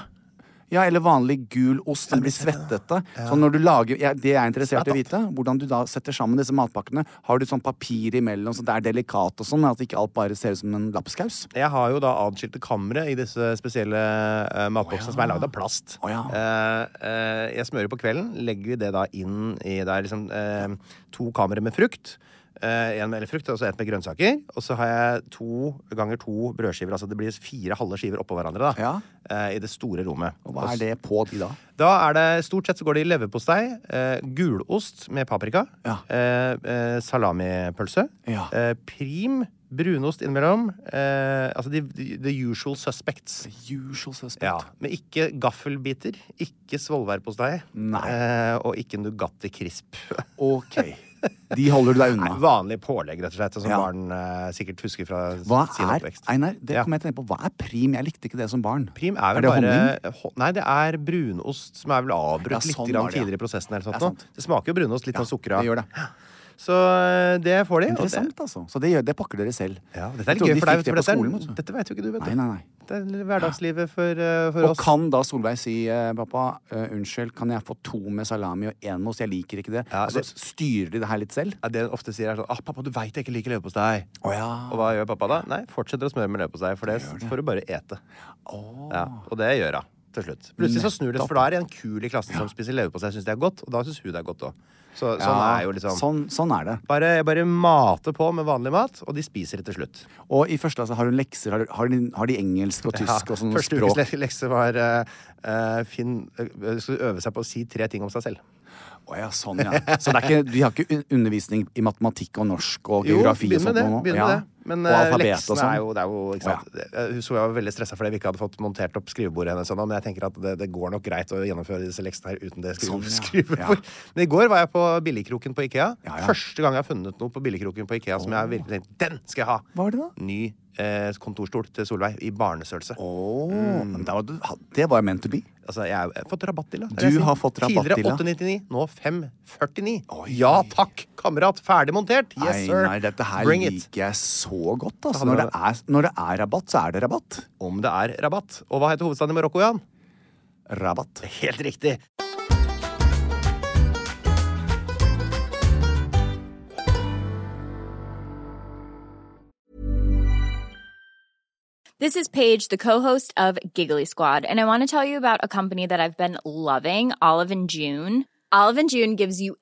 Speaker 4: Ja, eller vanlig gul ost. Den blir svettete. Så når du lager, ja, det jeg er interessert i å vite, hvordan du da setter sammen disse matpakkene. Har du sånn papir imellom, så det er delikat og sånn? At ikke alt bare ser ut som en lapskaus?
Speaker 5: Jeg har jo da adskilte kamre i disse spesielle eh, matboksene som er lagd av plast.
Speaker 4: Å ja.
Speaker 5: Eh, eh, jeg smører på kvelden, legger det da inn i Det er liksom eh, to kamre med frukt. Eh, en med eller frukt, og så et med grønnsaker. Og så har jeg to ganger to brødskiver. Altså det blir fire halve skiver oppå hverandre da,
Speaker 4: Ja.
Speaker 5: eh, i det store rommet.
Speaker 4: Og hva er det på de da?
Speaker 5: Da er det Stort sett så går det i leverpostei, eh, gulost med paprika,
Speaker 4: Ja.
Speaker 5: eh, eh, salamipølse,
Speaker 4: Ja.
Speaker 5: eh, prim, brunost innimellom. Eh, altså the, the, the usual suspects.
Speaker 4: Usual suspect.
Speaker 5: Ja, Men ikke gaffelbiter, ikke svolværpostei
Speaker 4: Nei.
Speaker 5: eh, og ikke Nugatti Crisp.
Speaker 4: Ok. De holder du deg
Speaker 5: Nei,
Speaker 4: unna.
Speaker 5: vanlig pålegg, rett og slett, som
Speaker 4: Ja.
Speaker 5: barn eh, sikkert husker fra
Speaker 4: Hva
Speaker 5: sin
Speaker 4: er
Speaker 5: oppvekst.
Speaker 4: Einar, det
Speaker 5: Ja.
Speaker 4: kommer jeg til å tenke på. Hva er prim? Jeg likte ikke det som barn.
Speaker 5: Prim er vel
Speaker 4: det
Speaker 5: bare ho- Nei, det er brunost som er vel avbrutt
Speaker 4: Ja, sånn
Speaker 5: litt grann
Speaker 4: var det, ja.
Speaker 5: tidligere i prosessen. Eller
Speaker 4: Det er
Speaker 5: sånt, nå.
Speaker 4: sant.
Speaker 5: det smaker jo brunost, litt
Speaker 4: Ja,
Speaker 5: sånn sukra.
Speaker 4: det gjør det.
Speaker 5: Så eh, det får de. og
Speaker 4: Interessant, altså. Så det, gjør, det pakker dere selv.
Speaker 5: Det, ja, dette er
Speaker 4: Jeg
Speaker 5: litt
Speaker 4: trodde
Speaker 5: gøy
Speaker 4: de
Speaker 5: for deg,
Speaker 4: fikk det
Speaker 5: for
Speaker 4: på
Speaker 5: dette,
Speaker 4: skolen,
Speaker 5: er,
Speaker 4: vet du.
Speaker 5: dette vet jo ikke du, vet
Speaker 4: Nei,
Speaker 5: du.
Speaker 4: nei, nei.
Speaker 5: altså. Det er hverdagslivet for, eh, for
Speaker 4: Og
Speaker 5: oss.
Speaker 4: kan da Solveig si eh, pappa, eh, unnskyld, kan jeg få to med salami og én med ost? Jeg liker ikke det.
Speaker 5: Ja,
Speaker 4: altså,
Speaker 5: det-
Speaker 4: styrer de det her litt selv?
Speaker 5: Ja, det hun ofte sier, er sånn ah, 'Pappa, du veit jeg ikke liker leverpostei.'
Speaker 4: Å ja.
Speaker 5: Og hva gjør pappa da?
Speaker 4: Ah.
Speaker 5: Nei, fortsetter å smøre med leverpostei, for det får du bare ete. Ja, og det gjør hun til slutt. Plutselig så snur det, for da er det en kul i klassen som spiser leverpostei, syns det er godt, og da syns hun det er godt òg. Så,
Speaker 4: Ja,
Speaker 5: Sånn er jo liksom
Speaker 4: sånn, sånn er det.
Speaker 5: Bare, jeg bare mater på med vanlig mat, og de spiser det til slutt.
Speaker 4: Og i første klasse har hun lekser. Har, har, de, har de engelsk og tysk og sånne
Speaker 5: Første
Speaker 4: språk?
Speaker 5: ukes le- lekse var eh, eh, Finn eh, skulle øve seg på å si tre ting om seg selv.
Speaker 4: Å ja, sånn, ja. Så det er ikke, de har ikke un- undervisning i matematikk og norsk og geografi og
Speaker 5: begynn
Speaker 4: sånt?
Speaker 5: med det.
Speaker 4: nå?
Speaker 5: Begynn
Speaker 4: Ja.
Speaker 5: med det. Men
Speaker 4: og
Speaker 5: eh,
Speaker 4: alfabet og
Speaker 5: leksene
Speaker 4: sånn?
Speaker 5: er jo, det er jo ikke sant? Eh, Hun så jeg var veldig stressa fordi vi ikke hadde fått montert opp skrivebordet hennes, ennå, men jeg tenker at det, det går nok greit å gjennomføre disse leksene her uten det skrive,
Speaker 4: Sånn, ja. Ja.
Speaker 5: skrivebord. Men i går var jeg på Billigkroken på Ikea.
Speaker 4: Ja, ja.
Speaker 5: Første gang jeg har funnet noe på Billigkroken på Ikea som jeg virkelig tenkte den skal jeg ha!
Speaker 4: Hva var det da?
Speaker 5: Ny eh, kontorstol til Solveig i barnestørrelse.
Speaker 4: Å,
Speaker 5: Mm.
Speaker 4: Mm, men da var du, ha- det var meant to be.
Speaker 5: Altså, jeg har fått rabattdilla.
Speaker 4: Du har fått
Speaker 5: Tidligere 899,
Speaker 4: rabattdilla.
Speaker 5: nå 549.
Speaker 4: Oi.
Speaker 5: Ja takk, kamerat! Ferdig montert! Yes, sir!
Speaker 4: Einar, dette her
Speaker 5: Bring it!
Speaker 4: liker jeg så godt. Altså. Når, det er, når det er rabatt, så er det rabatt.
Speaker 5: Om det er rabatt. Og hva heter hovedstaden i Marokko, Jan?
Speaker 4: Rabatt.
Speaker 5: Helt riktig.
Speaker 6: This is Paige, the co-host of Giggly Squad, and I want to tell you about a company that I've been loving, Olive and June. Olive and June gives you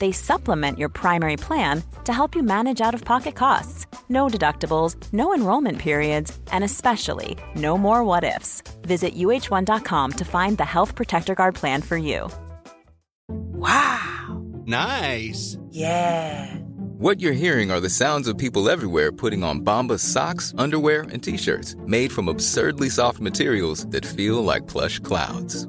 Speaker 7: They supplement your primary plan to help you manage out of pocket costs. No deductibles, no enrollment periods, and especially no more what ifs. Visit uh1.com to find the Health Protector Guard plan for you.
Speaker 8: Nice.
Speaker 9: What you're hearing are the sounds of people everywhere putting on Bombas socks, underwear, and t-shirts made from absurdly soft materials that feel like plush clouds.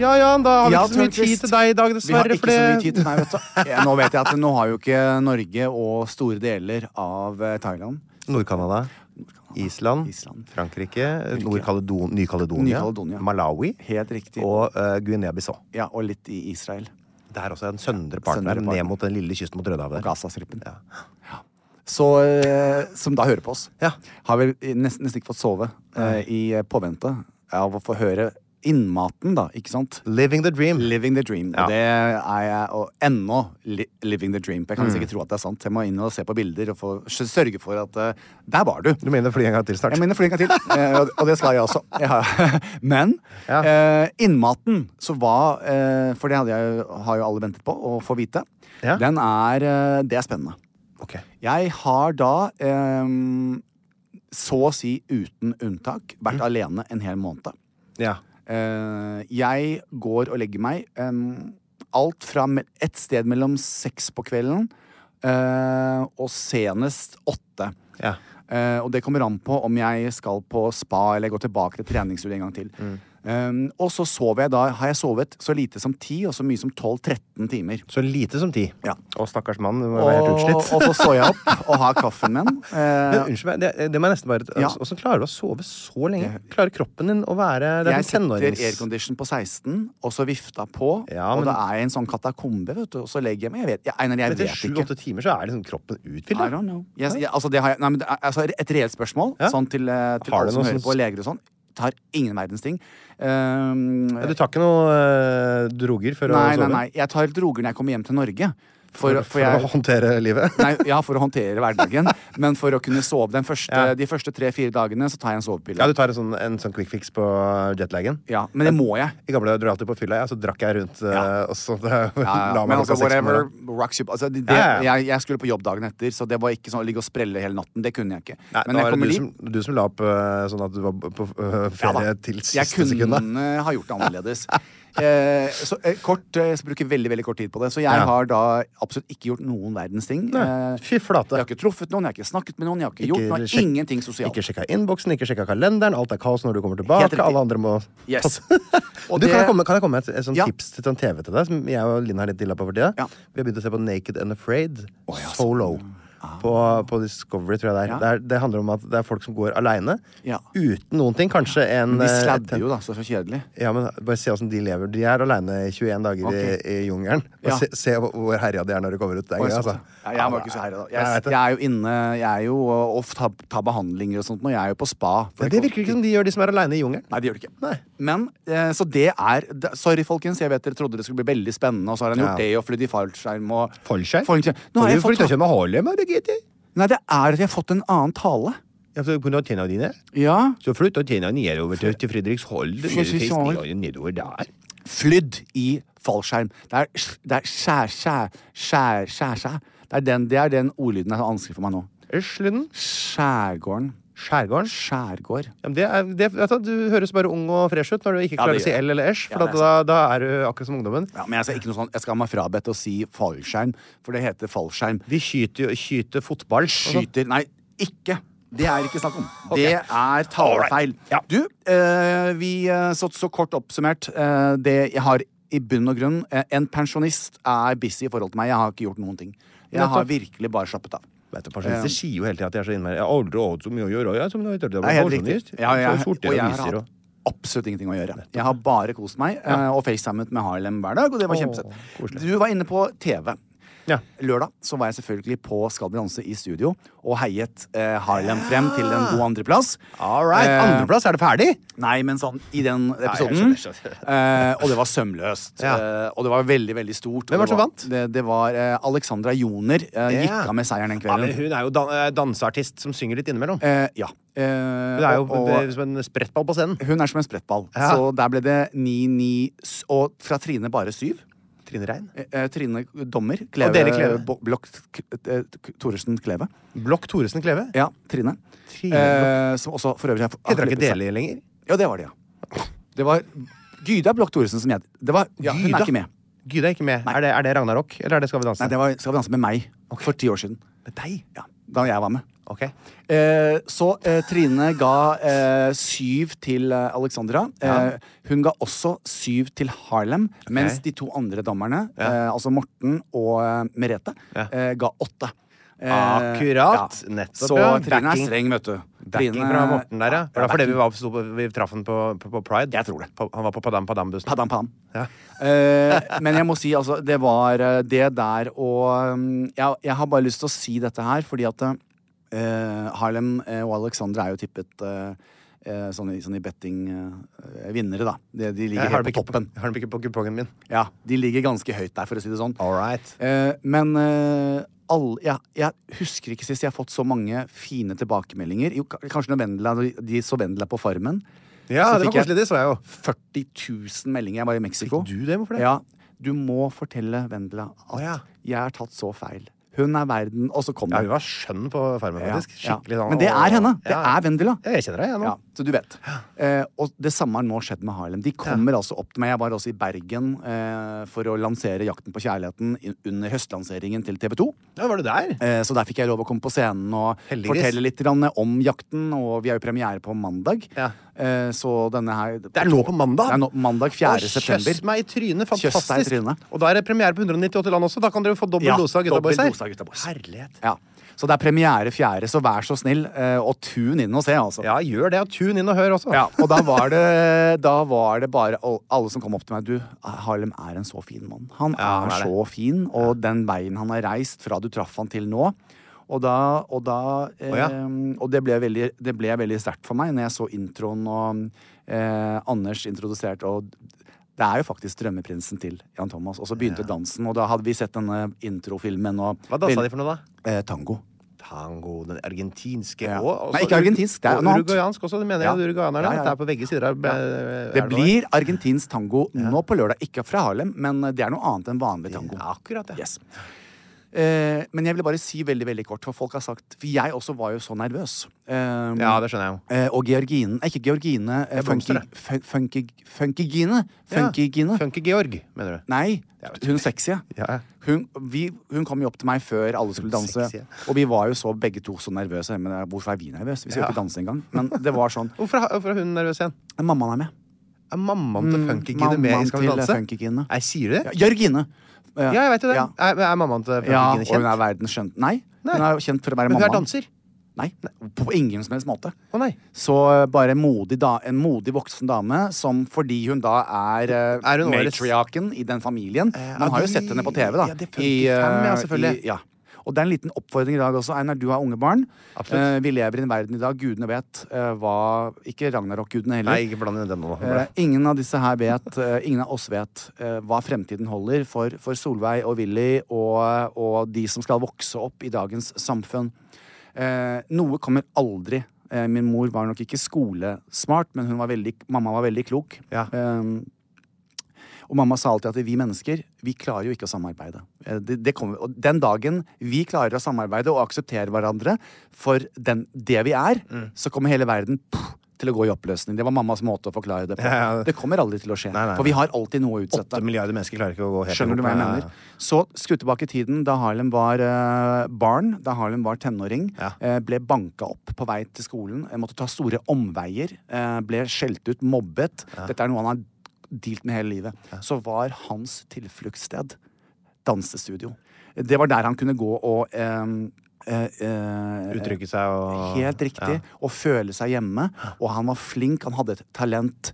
Speaker 3: Ja, Jan, da har vi
Speaker 4: Ja,
Speaker 3: ikke så mye
Speaker 4: Tørnquist.
Speaker 3: tid til deg i dag,
Speaker 4: Vi har
Speaker 3: dessverre.
Speaker 4: ikke
Speaker 3: for
Speaker 4: så mye
Speaker 3: det-
Speaker 4: tid til meg, vet du. Ja, nå vet jeg at nå har jo ikke Norge og store deler av eh, Thailand
Speaker 5: Nord-Canada. Island,
Speaker 4: Island.
Speaker 5: Frankrike, Nord-Kaledon- Ny-Kaledonia,
Speaker 4: Ny-Kaledonia.
Speaker 5: Malawi
Speaker 4: Helt riktig. Og,
Speaker 5: og eh, Guinea-Bissau.
Speaker 4: ja, og litt i Israel.
Speaker 5: Det er også en søndre part
Speaker 4: Søndre
Speaker 5: der,
Speaker 4: part.
Speaker 5: ned mot den lille kysten mot Rødehavet. der.
Speaker 4: Gazastripen.
Speaker 5: Ja.
Speaker 4: Så, eh, som da hører på oss.
Speaker 5: Ja.
Speaker 4: Har vel nesten, nesten ikke fått sove eh, i eh, påvente av å få høre innmaten, da. Ikke sant?
Speaker 5: Living the dream.
Speaker 4: Living the dream.
Speaker 5: Ja.
Speaker 4: Og det er jeg og ennå li living the dream. på. Jeg kan nesten ikke tro at det er sant. Jeg må inn og se på bilder og få, sørge for at eh, Der var du!
Speaker 5: Du mener fly en gang til snart?
Speaker 4: Jeg mener fly en gang til, eh, og- og det skal jeg også. Jeg har- Men
Speaker 5: Ja.
Speaker 4: eh, innmaten, så hva eh, For det hadde jeg, har jo alle ventet på å få vite.
Speaker 5: Ja.
Speaker 4: Den er eh, Det er spennende.
Speaker 5: Ok.
Speaker 4: Jeg har da eh, så å si uten unntak
Speaker 5: Mm.
Speaker 4: vært alene en hel måned.
Speaker 5: Ja.
Speaker 4: Eh, jeg går og legger meg em, alt fra me- et sted mellom seks på kvelden eh, og senest åtte.
Speaker 5: ja.
Speaker 4: Eh, og det kommer an på om jeg skal på spa eller gå tilbake til treningsstudio en gang til.
Speaker 5: Mm.
Speaker 4: Em, og så sover jeg da, har jeg sovet så lite som 10 og så mye som 12-13 timer.
Speaker 5: Så lite som ti.
Speaker 4: Ja.
Speaker 5: Og stakkars mann, du må
Speaker 4: Og,
Speaker 5: være helt
Speaker 4: og
Speaker 5: utslitt.
Speaker 4: så står jeg opp og har kaffen min.
Speaker 5: Men,
Speaker 4: Eh,
Speaker 5: unnskyld meg, det, det må jeg nesten bare
Speaker 4: Ja.
Speaker 5: Hvordan klarer du å sove så lenge? Klarer kroppen din å være Det er
Speaker 4: Eh, jeg
Speaker 5: en
Speaker 4: setter
Speaker 5: tenårings...
Speaker 4: aircondition på 16, og så vifta på.
Speaker 5: Ja,
Speaker 4: Og
Speaker 5: men-
Speaker 4: da er jeg i en sånn katakombe, vet du. Og så legger jeg meg. Jeg vet, jeg, Einar, jeg
Speaker 5: Etter
Speaker 4: vet ikke.
Speaker 5: sju-åtte timer så er liksom kroppen utfylt.
Speaker 4: I
Speaker 5: da.
Speaker 4: don't know. Jeg, jeg, altså det har jeg, nei, men det, er- altså et reelt spørsmål
Speaker 5: Ja.
Speaker 4: sånn til, eh, til
Speaker 5: Har du
Speaker 4: alle som
Speaker 5: noe
Speaker 4: hører
Speaker 5: som-
Speaker 4: på, leger og sånn. Tar ingen verdens ting. Um,
Speaker 5: Ja, Du tar ikke noe eh, droger for
Speaker 4: nei,
Speaker 5: å
Speaker 4: nei,
Speaker 5: sove?
Speaker 4: nei. Jeg tar droger når jeg kommer hjem til Norge. For,
Speaker 5: For,
Speaker 4: for, jeg,
Speaker 5: å håndtere livet?
Speaker 4: nei, ja, for å håndtere hverdagen. Men for å kunne sove den første,
Speaker 5: Ja.
Speaker 4: de første tre-fire dagene, så tar jeg en sovepille.
Speaker 5: Ja, du tar en sånn, en sånn quick fix på jetlagen?
Speaker 4: Ja, men det må jeg.
Speaker 5: I gamle dager dro jeg alltid på fylla, ja, så drakk jeg rundt eh, og så
Speaker 4: Ja, ja.
Speaker 5: la
Speaker 4: men
Speaker 5: meg klokka
Speaker 4: altså,
Speaker 5: seks på
Speaker 4: whatever
Speaker 5: morgenen.
Speaker 4: rocks you altså, det, det,
Speaker 5: Ja, ja, ja.
Speaker 4: Jeg, jeg skulle på jobb dagen etter, så det var ikke sånn å ligge og sprelle hele natten. Det kunne jeg ikke.
Speaker 5: Nei,
Speaker 4: men
Speaker 5: da
Speaker 4: jeg
Speaker 5: var
Speaker 4: kommer
Speaker 5: det du
Speaker 4: dit.
Speaker 5: som, du som la opp eh, sånn at du var på eh, ferie
Speaker 4: Ja da.
Speaker 5: til
Speaker 4: Jeg
Speaker 5: siste
Speaker 4: kunne
Speaker 5: sekund.
Speaker 4: ha gjort det annerledes. Eh, så eh, kort, eh, jeg skal bruke veldig veldig kort tid på det. Så jeg
Speaker 5: Ja.
Speaker 4: har da absolutt ikke gjort noen verdens ting.
Speaker 5: Nei,
Speaker 4: Eh,
Speaker 5: fy flate.
Speaker 4: Jeg har ikke truffet noen, jeg har ikke snakket med noen, jeg har ikke,
Speaker 5: Ikke
Speaker 4: gjort noe,
Speaker 5: sjekk-
Speaker 4: ingenting sosialt.
Speaker 5: Ikke sjekka innboksen, ikke sjekka kalenderen. Alt er kaos når du kommer tilbake.
Speaker 4: Helt riktig.
Speaker 5: Alle andre må
Speaker 4: Yes.
Speaker 5: passe.
Speaker 4: Og
Speaker 5: du,
Speaker 4: det-
Speaker 5: kan, jeg komme, kan jeg komme med et, et sånt
Speaker 4: Ja.
Speaker 5: tips til sånn TV til deg? Som jeg og Linn har litt dilla på for tida.
Speaker 4: Ja.
Speaker 5: Vi har begynt å se på Naked and Afraid solo. På, på Discovery, tror jeg det er.
Speaker 4: Ah. Ja.
Speaker 5: Det, er. det handler om at det er folk som går aleine.
Speaker 4: Ja.
Speaker 5: Uten noen ting. Kanskje en
Speaker 4: De
Speaker 5: eh,
Speaker 4: sladder jo, da. Så så kjedelig.
Speaker 5: ja, men bare se åssen de lever. De er aleine i 21 dager
Speaker 4: Ok.
Speaker 5: i, i jungelen. Bare
Speaker 4: Ja.
Speaker 5: Se, se hvor- hvor herja de er når de kommer ut. Det er
Speaker 4: Oi,
Speaker 5: gøy,
Speaker 4: sånn,
Speaker 5: altså.
Speaker 4: ja, jeg var ikke så herre da.
Speaker 5: Nei,
Speaker 4: Jeg,
Speaker 5: vet du.
Speaker 4: jeg er jo inne Jeg er jo eh, og tar ta behandlinger og sånt nå. Jeg er jo på spa. for
Speaker 5: Men det virker ikke som de gjør, de som er aleine i jungelen.
Speaker 4: Nei, det gjør det ikke. Men, eh, så det er det- Sorry, folkens. Jeg vet dere trodde det skulle bli veldig spennende, og så har han
Speaker 5: Ja.
Speaker 4: gjort det og flydd i fallskjerm og
Speaker 5: Fallskjerm?
Speaker 4: Nå
Speaker 5: Har
Speaker 4: har
Speaker 5: du
Speaker 4: jeg fått sånn-
Speaker 5: flyttet ikke med Harlem, Birgitte?
Speaker 4: Nei, det er at jeg har fått en annen tale.
Speaker 5: Ja, for på nattena dine?
Speaker 4: Ja.
Speaker 5: Så flytta tena nedover til, til Fredrikshold.
Speaker 4: For
Speaker 5: ned til
Speaker 4: sesongen.
Speaker 5: festningene Nedover der.
Speaker 4: Flydd i fallskjerm. Det er, det er skjær, skjær, skjær, skjær, skjær. Det er den, det er den ordlyden er så vanskelig for meg nå.
Speaker 5: Øslyden?
Speaker 4: Skjærgården.
Speaker 5: Skjærgården?
Speaker 4: Skjærgård.
Speaker 5: Ja, men det er, det, vet du, du høres bare ung og fresh ut når du ikke
Speaker 4: Ja,
Speaker 5: klarer
Speaker 4: det
Speaker 5: å si
Speaker 4: gjør jeg.
Speaker 5: L eller æsj, for
Speaker 4: Ja,
Speaker 5: at
Speaker 4: det er
Speaker 5: da, da er du akkurat som ungdommen.
Speaker 4: Ja, men jeg, skal ikke noe sånn, jeg skal ha meg frabedt å si fallskjerm, for det heter fallskjerm.
Speaker 5: Vi skyter, jo- skyter fotball. og sånn.
Speaker 4: Skyter Nei, ikke. Det er ikke snakk om.
Speaker 5: Ok.
Speaker 4: Det er talefeil. Du, eh, vi eh, så, så kort oppsummert eh, det jeg har i bunn og grunn. eh, en pensjonist er busy i forhold til meg. Jeg har ikke gjort noen ting. Jeg har
Speaker 5: Nettopp.
Speaker 4: virkelig bare slappet av.
Speaker 5: Vet du, Pensjonister sier jo hele tiden at de er så innmari Jeg har aldri hatt så mye å gjøre. Jeg, som jeg, jeg, jeg,
Speaker 4: Det er helt riktig. sånn Ja, ja,
Speaker 5: så
Speaker 4: og
Speaker 5: sorterer
Speaker 4: jeg
Speaker 5: jeg
Speaker 4: har
Speaker 5: aviser
Speaker 4: hatt
Speaker 5: og
Speaker 4: absolutt ingenting å gjøre. Jeg har bare kost meg eh, og facetimet med Harlem hver dag, og det var
Speaker 5: Åh,
Speaker 4: kjempesøtt. Du var inne på TV. Lørdag så var jeg selvfølgelig på Skal vi danse i studio og heiet eh, Harlem frem til en god andreplass. Eh,
Speaker 5: All right, andreplass, er det ferdig?
Speaker 4: Nei, men sånn i den
Speaker 5: jeg
Speaker 4: episoden.
Speaker 5: skjønner,
Speaker 4: eh, og det var sømløst. Eh, og det var veldig, veldig stort.
Speaker 5: Hvem var det som
Speaker 4: vant? Det, det var eh, Alexandra Joner. Eh,
Speaker 5: Ja.
Speaker 4: Gikk av med seieren den
Speaker 5: Ja, men
Speaker 4: kvelden.
Speaker 5: hun er jo dan eh, danseartist som synger litt innimellom.
Speaker 4: Eh, ja. Eh,
Speaker 5: Hun er jo
Speaker 4: og- og-
Speaker 5: som en sprettball på scenen.
Speaker 4: Hun er som en sprettball.
Speaker 5: Ja.
Speaker 4: Så der ble det 9-9, s- og fra Trine bare 7.
Speaker 5: Trine Rein.
Speaker 4: Trine Dommer.
Speaker 5: Og dere Kleve.
Speaker 4: Bo- Blokk K- eh, K- Thoresen Kleve.
Speaker 5: Blokk Thoresen Kleve.
Speaker 4: Ja, Trine.
Speaker 5: Trine
Speaker 4: Eh, som også for øvrig er
Speaker 5: Heter hun ikke Deli lenger?
Speaker 4: Ja, det var det, ja. Det var Gyda Blokk Thoresen som het det. Var, ja, hun
Speaker 5: Gyda?
Speaker 4: er ikke med.
Speaker 5: Gyda er ikke med. Er det, er det Ragnarok, eller er det Skal vi danse?
Speaker 4: Nei, det var Skal vi danse med meg for ti år siden.
Speaker 5: Med deg?
Speaker 4: Ja, da jeg var med.
Speaker 5: Ok.
Speaker 4: Eh, så eh, Trine ga eh, syv til eh, Alexandra.
Speaker 5: Ja.
Speaker 4: Eh, hun ga også syv til Harlem, mens de to andre dommerne, eh, altså Morten og eh, Merete, eh, ga åtte. Eh,
Speaker 5: Akkurat. Nettopp,
Speaker 4: Så
Speaker 5: ja.
Speaker 4: Trine
Speaker 5: Backing.
Speaker 4: er streng, vet du.
Speaker 5: Backing
Speaker 4: Trine-
Speaker 5: fra Morten der, ja. Var det fordi vi,
Speaker 4: backing.
Speaker 5: var, sto på, vi traff han på, på, på Pride?
Speaker 4: Jeg tror det.
Speaker 5: På, han var på Padam Padam-bussen.
Speaker 4: Padam, padam.
Speaker 5: Ja.
Speaker 4: Eh, men jeg må si, altså, det var eh, det der og mm, jeg, jeg har bare lyst til å si dette her, fordi at eh, Harlem eh, og Alexandra er jo tippet eh, eh, sånn, i- sånn i betting eh, vinnere, da. De, de ligger
Speaker 5: Jeg har
Speaker 4: helt
Speaker 5: dem
Speaker 4: på
Speaker 5: ikke på,
Speaker 4: toppen.
Speaker 5: har dem ikke på kupongen min.
Speaker 4: Ja, de ligger ganske høyt der, for å si det sånn.
Speaker 5: All right.
Speaker 4: Eh, men eh, all, ja, jeg husker ikke sist jeg har fått så mange fine tilbakemeldinger. Jo, ka- kanskje når Vendela, de så Vendela på Farmen.
Speaker 5: Ja,
Speaker 4: Så
Speaker 5: det
Speaker 4: fikk
Speaker 5: var koselig. Det så jeg jo.
Speaker 4: 40 000 meldinger. Jeg var i Mexico.
Speaker 5: Fikk du det? Hvorfor det?
Speaker 4: Ja. Du må fortelle Vendela at
Speaker 5: Å, ja.
Speaker 4: jeg har tatt så feil. Hun er verden Og så kom
Speaker 5: Ja,
Speaker 4: det.
Speaker 5: hun var skjønn på Farmen,
Speaker 4: Ja,
Speaker 5: faktisk.
Speaker 4: ja.
Speaker 5: Skikkelig sånn
Speaker 4: Men det
Speaker 5: å-
Speaker 4: er henne. Det
Speaker 5: Ja.
Speaker 4: er Vendela.
Speaker 5: Ja, jeg kjenner deg, jeg nå.
Speaker 4: Ja, så du vet. Eh, og det samme har nå skjedd med Harlem. De kommer altså opp til meg. Jeg var også i Bergen eh, for å lansere Jakten på kjærligheten i- under høstlanseringen til TV 2.
Speaker 5: Ja, var du der?
Speaker 4: Eh, Så der fikk jeg lov å komme på scenen og
Speaker 5: Heldigvis.
Speaker 4: fortelle litt grann om jakten. Og vi har jo premiere på mandag.
Speaker 5: Ja.
Speaker 4: Eh, Så denne her Det
Speaker 5: er nå på mandag?
Speaker 4: Det er nå på mandag 4. september.
Speaker 5: Kjøss meg i trynet.
Speaker 4: Kjøss deg i
Speaker 5: Fantastisk.
Speaker 4: trynet.
Speaker 5: Og da er det premiere på 198 land også. Da kan dere få dobbel
Speaker 4: Ja,
Speaker 5: dose av Gutta
Speaker 4: dobbel
Speaker 5: Boys her.
Speaker 4: dose av Gutta Boys.
Speaker 5: Herlighet.
Speaker 4: Ja. Så det er premiere 4., så vær så snill eh, og tune inn og se, altså.
Speaker 5: Ja, gjør det. og Tune inn og hør også.
Speaker 4: Ja, og da var, det, da var det bare all- alle som kom opp til meg. Du, Harlem er en så fin mann. Han
Speaker 5: Ja, han
Speaker 4: er
Speaker 5: er det.
Speaker 4: så fin, og den veien han har reist fra du traff han til nå. Og da, og da eh,
Speaker 5: ja.
Speaker 4: Og det ble veldig, det ble veldig sterkt for meg når jeg så introen og eh, Anders introduserte og det er jo faktisk drømmeprinsen til Jan Thomas. Og så begynte dansen, og da hadde vi sett denne introfilmen og
Speaker 5: Hva dansa de for noe, da?
Speaker 4: Eh, tango.
Speaker 5: Tango, den argentinske
Speaker 4: Ja.
Speaker 5: og også
Speaker 4: Nei, ikke argentinsk, det er
Speaker 5: og
Speaker 4: noe annet.
Speaker 5: Uruguayansk også, det mener
Speaker 4: Ja.
Speaker 5: jeg. Uruguayanerne.
Speaker 4: Ja, ja, ja.
Speaker 5: Det er på begge sider av eh,
Speaker 4: Det
Speaker 5: elva.
Speaker 4: blir argentinsk tango nå på lørdag. Ikke fra Harlem, men det er noe annet enn vanlig tango.
Speaker 5: Ja, Akkurat, ja.
Speaker 4: Yes. Eh, men jeg ville bare si veldig veldig kort, for folk har sagt For jeg også var jo så nervøs. Eh,
Speaker 5: Ja, det skjønner jeg jo.
Speaker 4: eh, og Georgine Nei, ikke Georgine. eh,
Speaker 5: Det er blomster,
Speaker 4: Funky- fun- funky- Funkygine. Funkygine.
Speaker 5: Ja. Funky Georg, mener du.
Speaker 4: Nei, hun sexy.
Speaker 5: Ja.
Speaker 4: Hun, vi, hun kom jo opp til meg før alle skulle
Speaker 5: Hun
Speaker 4: danse.
Speaker 5: sexy.
Speaker 4: Og vi var jo så begge to så nervøse. Men eh, hvorfor er vi nervøse? Vi skal jo
Speaker 5: Ja.
Speaker 4: ikke danse engang. Men det var sånn.
Speaker 5: Hvorfor, har- hvorfor er hun nervøs igjen?
Speaker 4: Mammaen er med.
Speaker 5: Er mammaen til
Speaker 4: Mm,
Speaker 5: Funkygine med
Speaker 4: mammaen
Speaker 5: i Skal vi
Speaker 4: til
Speaker 5: danse?
Speaker 4: Funkygine.
Speaker 5: Nei, sier du
Speaker 4: Ja,
Speaker 5: det?
Speaker 4: Georgine.
Speaker 5: Ja,
Speaker 4: Eh,
Speaker 5: jeg vet jo det.
Speaker 4: Ja,
Speaker 5: Er, er mammaen til
Speaker 4: ja
Speaker 5: Funkygine
Speaker 4: og hun er
Speaker 5: kjent?
Speaker 4: verdens skjønn... Nei, hun
Speaker 5: Nei.
Speaker 4: er kjent for å være
Speaker 5: Men hun er
Speaker 4: mammaen.
Speaker 5: danser.
Speaker 4: Nei, på ingen som helst måte.
Speaker 5: Å nei.
Speaker 4: Så eh, bare en modig da, en modig voksen dame som fordi hun da er, eh,
Speaker 5: Er hun årets-
Speaker 4: matriarchen i den familien
Speaker 5: Eh,
Speaker 4: Man
Speaker 5: ja,
Speaker 4: har jo
Speaker 5: de-
Speaker 4: sett henne på TV, da.
Speaker 5: ja, det er
Speaker 4: i, eh,
Speaker 5: 55, ja, selvfølgelig.
Speaker 4: i- ja. Og det er en liten oppfordring i dag også. Einar, du har unge barn.
Speaker 5: Absolutt.
Speaker 4: Eh, vi lever i en verden i dag. Gudene vet eh, hva Ikke Ragnarok-gudene heller.
Speaker 5: Nei, ikke bland inn den nå.
Speaker 4: Eh, ingen av disse her vet, eh, ingen av oss vet eh, hva fremtiden holder for, for Solveig og Willy og, og de som skal vokse opp i dagens samfunn. Eh, noe kommer aldri Eh, Min mor var nok ikke skolesmart, men hun var veldig, mamma var veldig klok. Eh, og mamma sa alltid at vi mennesker vi klarer jo ikke å samarbeide. Eh, Det, det kommer, og den dagen vi klarer å samarbeide og akseptere hverandre for den, det vi er,
Speaker 5: Mm.
Speaker 4: så kommer hele verden pff, til å gå i oppløsning. Det var mammas måte å forklare det på.
Speaker 5: Ja, ja.
Speaker 4: Det kommer aldri til å skje.
Speaker 5: nei,
Speaker 4: For vi
Speaker 5: nei.
Speaker 4: har alltid noe å utsette.
Speaker 5: Åtte milliarder mennesker klarer ikke å gå helt eh,
Speaker 4: Skjønner du hva jeg
Speaker 5: Ja, ja, ja.
Speaker 4: mener? Så skru tilbake i tiden da Harlem var eh, barn, da Harlem var tenåring. eh, ble banka opp på vei til skolen. eh, måtte ta store omveier. eh, ble skjelt ut, mobbet. Dette er noe han har dealt med hele livet. Så var hans tilfluktssted dansestudio. Det var der han kunne gå og eh, eh, eh,
Speaker 5: Uttrykke seg og
Speaker 4: Helt riktig. Og føle seg hjemme. Og han var flink, han hadde et talent.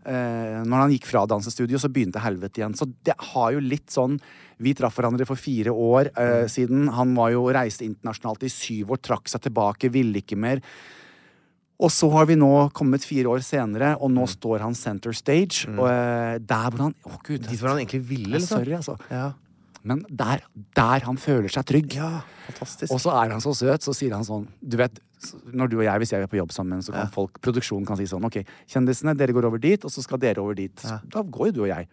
Speaker 4: Eh, når han gikk fra dansestudio, så begynte helvete igjen. Så det har jo litt sånn Vi traff hverandre for fire år eh, siden. Han var jo reiste internasjonalt i syv år, trakk seg tilbake, ville ikke mer. Og så har vi nå kommet fire år senere, og nå står han center stage. Og, eh, der hvor han Å, gud. Dit hvor han
Speaker 5: egentlig ville,
Speaker 4: liksom. Sorry, altså. Men der, der han føler seg trygg. Ja, fantastisk. Og så er han så søt, så sier han sånn Du vet, s- når du og jeg, hvis jeg er på jobb sammen, så kan folk, produksjonen kan si sånn OK, kjendisene, dere går over dit, og så skal dere over dit. Så Da går jo du og jeg.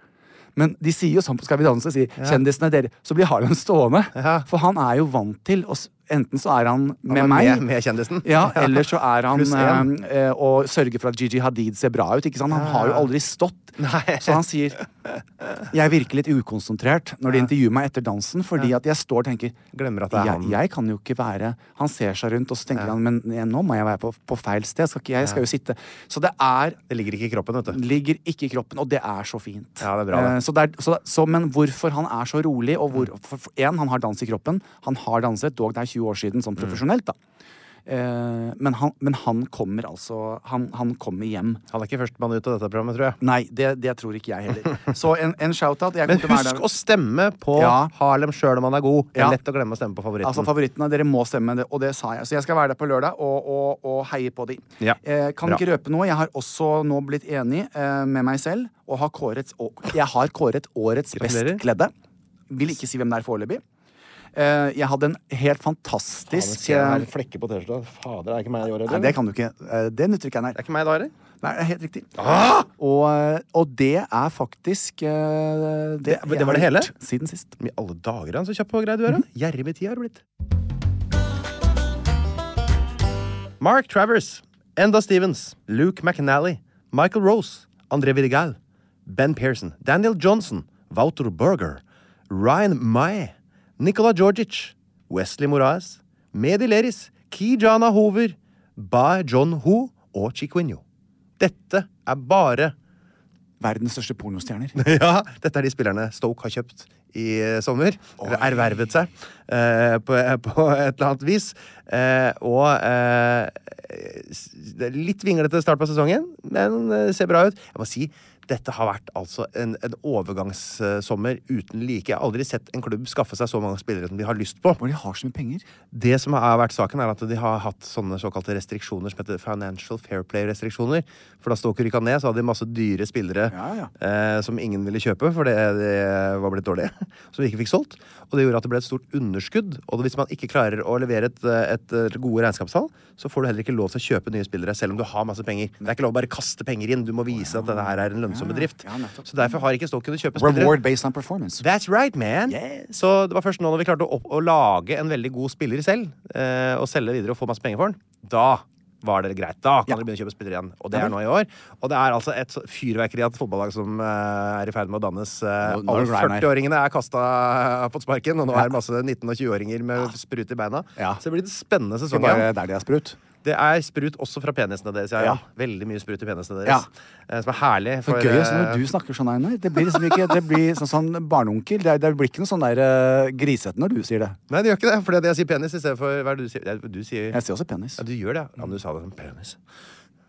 Speaker 4: Men de sier jo sånn på Skal vi danse, sier
Speaker 5: Ja.
Speaker 4: kjendisene dere Så blir Harlem stående. For han er jo vant til å s- Enten så er han med
Speaker 5: er
Speaker 4: meg.
Speaker 5: med- med kjendisen.
Speaker 4: Ja, eller så er han
Speaker 5: Pluss en.
Speaker 4: eh, eh, og sørger for at Gigi Hadid ser bra ut. Ikke sant? Han har jo aldri stått. Så han sier jeg virker litt ukonsentrert når de intervjuer meg etter dansen, fordi at jeg står og tenker
Speaker 5: Glemmer at det er han.
Speaker 4: jeg, jeg kan jo ikke være Han ser seg rundt, og så tenker han men eh, nå må jeg være på, på feil sted. Skal ikke, jeg skal jo sitte Så det er
Speaker 5: Det ligger ikke i kroppen, vet du.
Speaker 4: Ligger ikke i kroppen, og det er så fint.
Speaker 5: Ja, det er bra, det. Mm.
Speaker 4: Eh, Så det er, så, så, men hvorfor han er så rolig, og hvor for, for, En, han har dans i kroppen. Han har danset, dog det er 20 år siden,
Speaker 5: Mm.
Speaker 4: sånn profesjonelt, da. Eh, men, han, men han kommer altså Han, han kommer hjem.
Speaker 5: Han er ikke førstemann ut av dette programmet, tror jeg.
Speaker 4: Nei, det, det tror ikke jeg heller. Så en, en shout-out. jeg
Speaker 5: Men
Speaker 4: kommer til
Speaker 5: husk
Speaker 4: være der.
Speaker 5: å stemme på
Speaker 4: Ja.
Speaker 5: Harlem sjøl om han er god. Det er
Speaker 4: Ja.
Speaker 5: lett å glemme å stemme på favoritten.
Speaker 4: Altså favorittene, Dere må stemme, det, og det sa jeg. Så jeg skal være der på lørdag og, og, og heie på de.
Speaker 5: Ja.
Speaker 4: Eh, kan
Speaker 5: Bra.
Speaker 4: ikke røpe noe. Jeg har også nå blitt enig eh, med meg selv og har kåret, og, jeg har kåret årets
Speaker 5: Gratulerer.
Speaker 4: best kledde. Vil ikke si hvem det er foreløpig. Eh, jeg hadde en helt fantastisk eh,
Speaker 5: flekker på T-skjorta. Fader, er ikke meg i år
Speaker 4: Nei, det kan du ikke. Eh, Det nytter ikke jeg, nei. Det
Speaker 5: er ikke meg da, heller.
Speaker 4: Nei, det er helt riktig.
Speaker 5: Ah!
Speaker 4: Og, eh, og det er faktisk eh,
Speaker 5: Det,
Speaker 4: jeg
Speaker 5: det var det
Speaker 4: har
Speaker 5: hele?
Speaker 4: gjort Siden sist.
Speaker 5: I alle dager, han så kjapp og grei du er. han. Gjerrig med tida har du blitt. Mark Travers, Enda Stevens, Luke McNally, Michael Rose, André Vidigal, Ben Pearson, Daniel Johnson, Wouter Berger, Ryan May, Nicola Georgic, Wesley Moraes, Mehdi Leris, Kijana Hoover, Ba John Ho og Chiquinho. Dette er bare
Speaker 4: Verdens største pornostjerner.
Speaker 5: ja, dette er de spillerne Stoke har kjøpt i eh, sommer. Eller ervervet seg eh, på, på et eller annet vis. Eh, og eh, s- det er litt vinglete start på sesongen, men eh, ser bra ut. Jeg må si dette har vært altså en, en overgangssommer uten like. Jeg har aldri sett en klubb skaffe seg så mange spillere som de har lyst på.
Speaker 4: Hvor de har så mye penger.
Speaker 5: Det som har vært saken, er at de har hatt sånne såkalte restriksjoner som heter Financial Fair Play-restriksjoner. For da Stoker rykka ned, så hadde de masse dyre spillere Eh, som ingen ville kjøpe, for det, det var blitt dårlige. Som de ikke fikk solgt. Og det gjorde at det ble et stort underskudd. Og hvis man ikke klarer å levere et, eh, et eh, gode regnskapstall, så får du heller ikke lov til å kjøpe nye spillere, selv om du har masse penger. Det er ikke lov å bare kaste penger inn. Du må vise at dette her er en lønnsom bedrift. Så derfor har ikke Stoker kunnet kjøpe spillere.
Speaker 4: Reward based on performance.
Speaker 5: That's right, man! Så det var først nå når vi klarte å, opp, å lage en veldig god spiller selv, eh, og selge videre og få masse penger for den, da var det greit. Da kan dere begynne å kjøpe spillere igjen. Og det
Speaker 4: Ja
Speaker 5: er
Speaker 4: vel.
Speaker 5: nå i år. Og det er altså et så- fyrverkeri av et fotballag som eh, er i ferd med å dannes. Eh,
Speaker 4: Nå- nå
Speaker 5: alle
Speaker 4: er du glad i meg.
Speaker 5: 40-åringene er kasta på sparken, og nå
Speaker 4: Ja.
Speaker 5: er det masse 19- og 20-åringer med sprut i beina.
Speaker 4: Ja.
Speaker 5: Så det blir en spennende
Speaker 4: Det er
Speaker 5: sesong
Speaker 4: bare
Speaker 5: igjen.
Speaker 4: der de har sprut.
Speaker 5: Det er sprut også fra penisene deres. Ja, ja.
Speaker 4: Ja.
Speaker 5: Veldig mye sprut i penisene
Speaker 4: Ja.
Speaker 5: deres. Eh, som er herlig.
Speaker 4: Så
Speaker 5: For,
Speaker 4: gøy også
Speaker 5: eh,
Speaker 4: når du snakker sånn, Einar. Det blir liksom ikke Det blir sånn, sånn barneonkel. Det, er- det blir ikke noe sånn der eh, grisete når du sier det.
Speaker 5: Nei, det gjør ikke det. Fordi at jeg sier penis i stedet for hva er det du sier. Ja, Du sier
Speaker 4: Jeg sier også penis.
Speaker 5: Ja, du gjør det. ja. Ja, men du sa det som penis.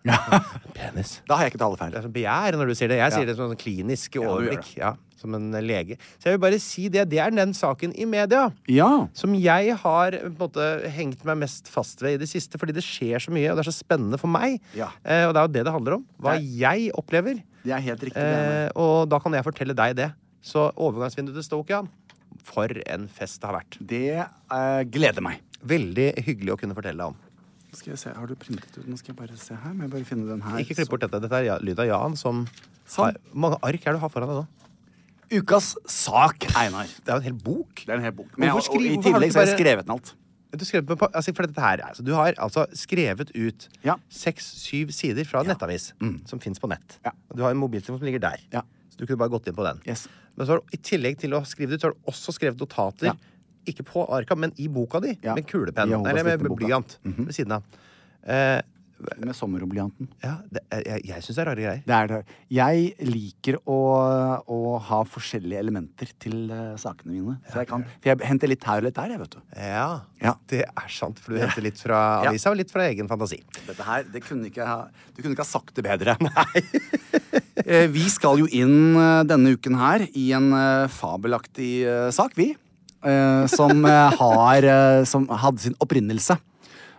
Speaker 5: penis.
Speaker 4: Da har jeg ikke talefeil.
Speaker 5: Det er som begjær når du sier det. Jeg
Speaker 4: Ja.
Speaker 5: sier det som en klinisk
Speaker 4: du gjør
Speaker 5: overblikk. Ja, som en eh, lege. Så jeg vil bare si det. Det er den saken i media
Speaker 4: Ja.
Speaker 5: som jeg har eh, på en måte hengt meg mest fast ved i det siste, fordi det skjer så mye, og det er så spennende for meg.
Speaker 4: Ja.
Speaker 5: Eh, og det er jo det det handler om. Hva jeg opplever.
Speaker 4: Det er helt riktig. det, Einar.
Speaker 5: Eh, og da kan jeg fortelle deg det. Så overgangsvinduet til Stoke, ja. For en fest det har vært.
Speaker 4: Det eh, gleder meg.
Speaker 5: Veldig hyggelig å kunne fortelle om.
Speaker 4: Skal jeg se, Har du printet ut? Nå skal jeg bare se her. Må jeg bare finne den her.
Speaker 5: Ikke klipp bort dette. Dette er ja- lyd av Jan som
Speaker 4: Sånn.
Speaker 5: har, Hvor mange ark er det du har foran deg nå?
Speaker 4: Ukas sak, Einar.
Speaker 5: Det er jo en hel bok.
Speaker 4: Det er en hel bok. Men jeg,
Speaker 5: Hvorfor
Speaker 4: og,
Speaker 5: skriver-
Speaker 4: I
Speaker 5: hvorfor har
Speaker 4: tillegg
Speaker 5: du
Speaker 4: så har
Speaker 5: ikke
Speaker 4: jeg
Speaker 5: bare-
Speaker 4: skrevet ned alt.
Speaker 5: Du, skrev på, pa- altså, for dette her, altså, du har altså skrevet ut seks-syv sider fra en nettavis
Speaker 4: Mm.
Speaker 5: som fins på nett. Og Du har en mobiltelefon som ligger der. Så du kunne bare gått inn på den. Men så har du, i tillegg til å skrive det ut, så har du også skrevet notater. Ikke på arka, men i boka di. Med kulepenn.
Speaker 4: Jehovas
Speaker 5: Eller med
Speaker 4: vitneboka.
Speaker 5: blyant ved siden av. Eh,
Speaker 4: Med sommerblyanten.
Speaker 5: ja, det, jeg jeg, jeg syns det er rare greier.
Speaker 4: Det er det. Jeg liker å, å ha forskjellige elementer til eh, sakene mine. Så jeg kan, for jeg henter litt her og litt der, jeg, vet du.
Speaker 5: Ja,
Speaker 4: Ja.
Speaker 5: det er sant. For du henter litt fra
Speaker 4: Ja.
Speaker 5: avisa og litt fra egen fantasi.
Speaker 4: Dette her, det kunne ikke ha, Du kunne ikke ha sagt det bedre. Nei. Eh, vi skal jo inn eh, denne uken her i en eh, fabelaktig eh, sak, vi. Eh, som, eh, har, eh, som hadde sin opprinnelse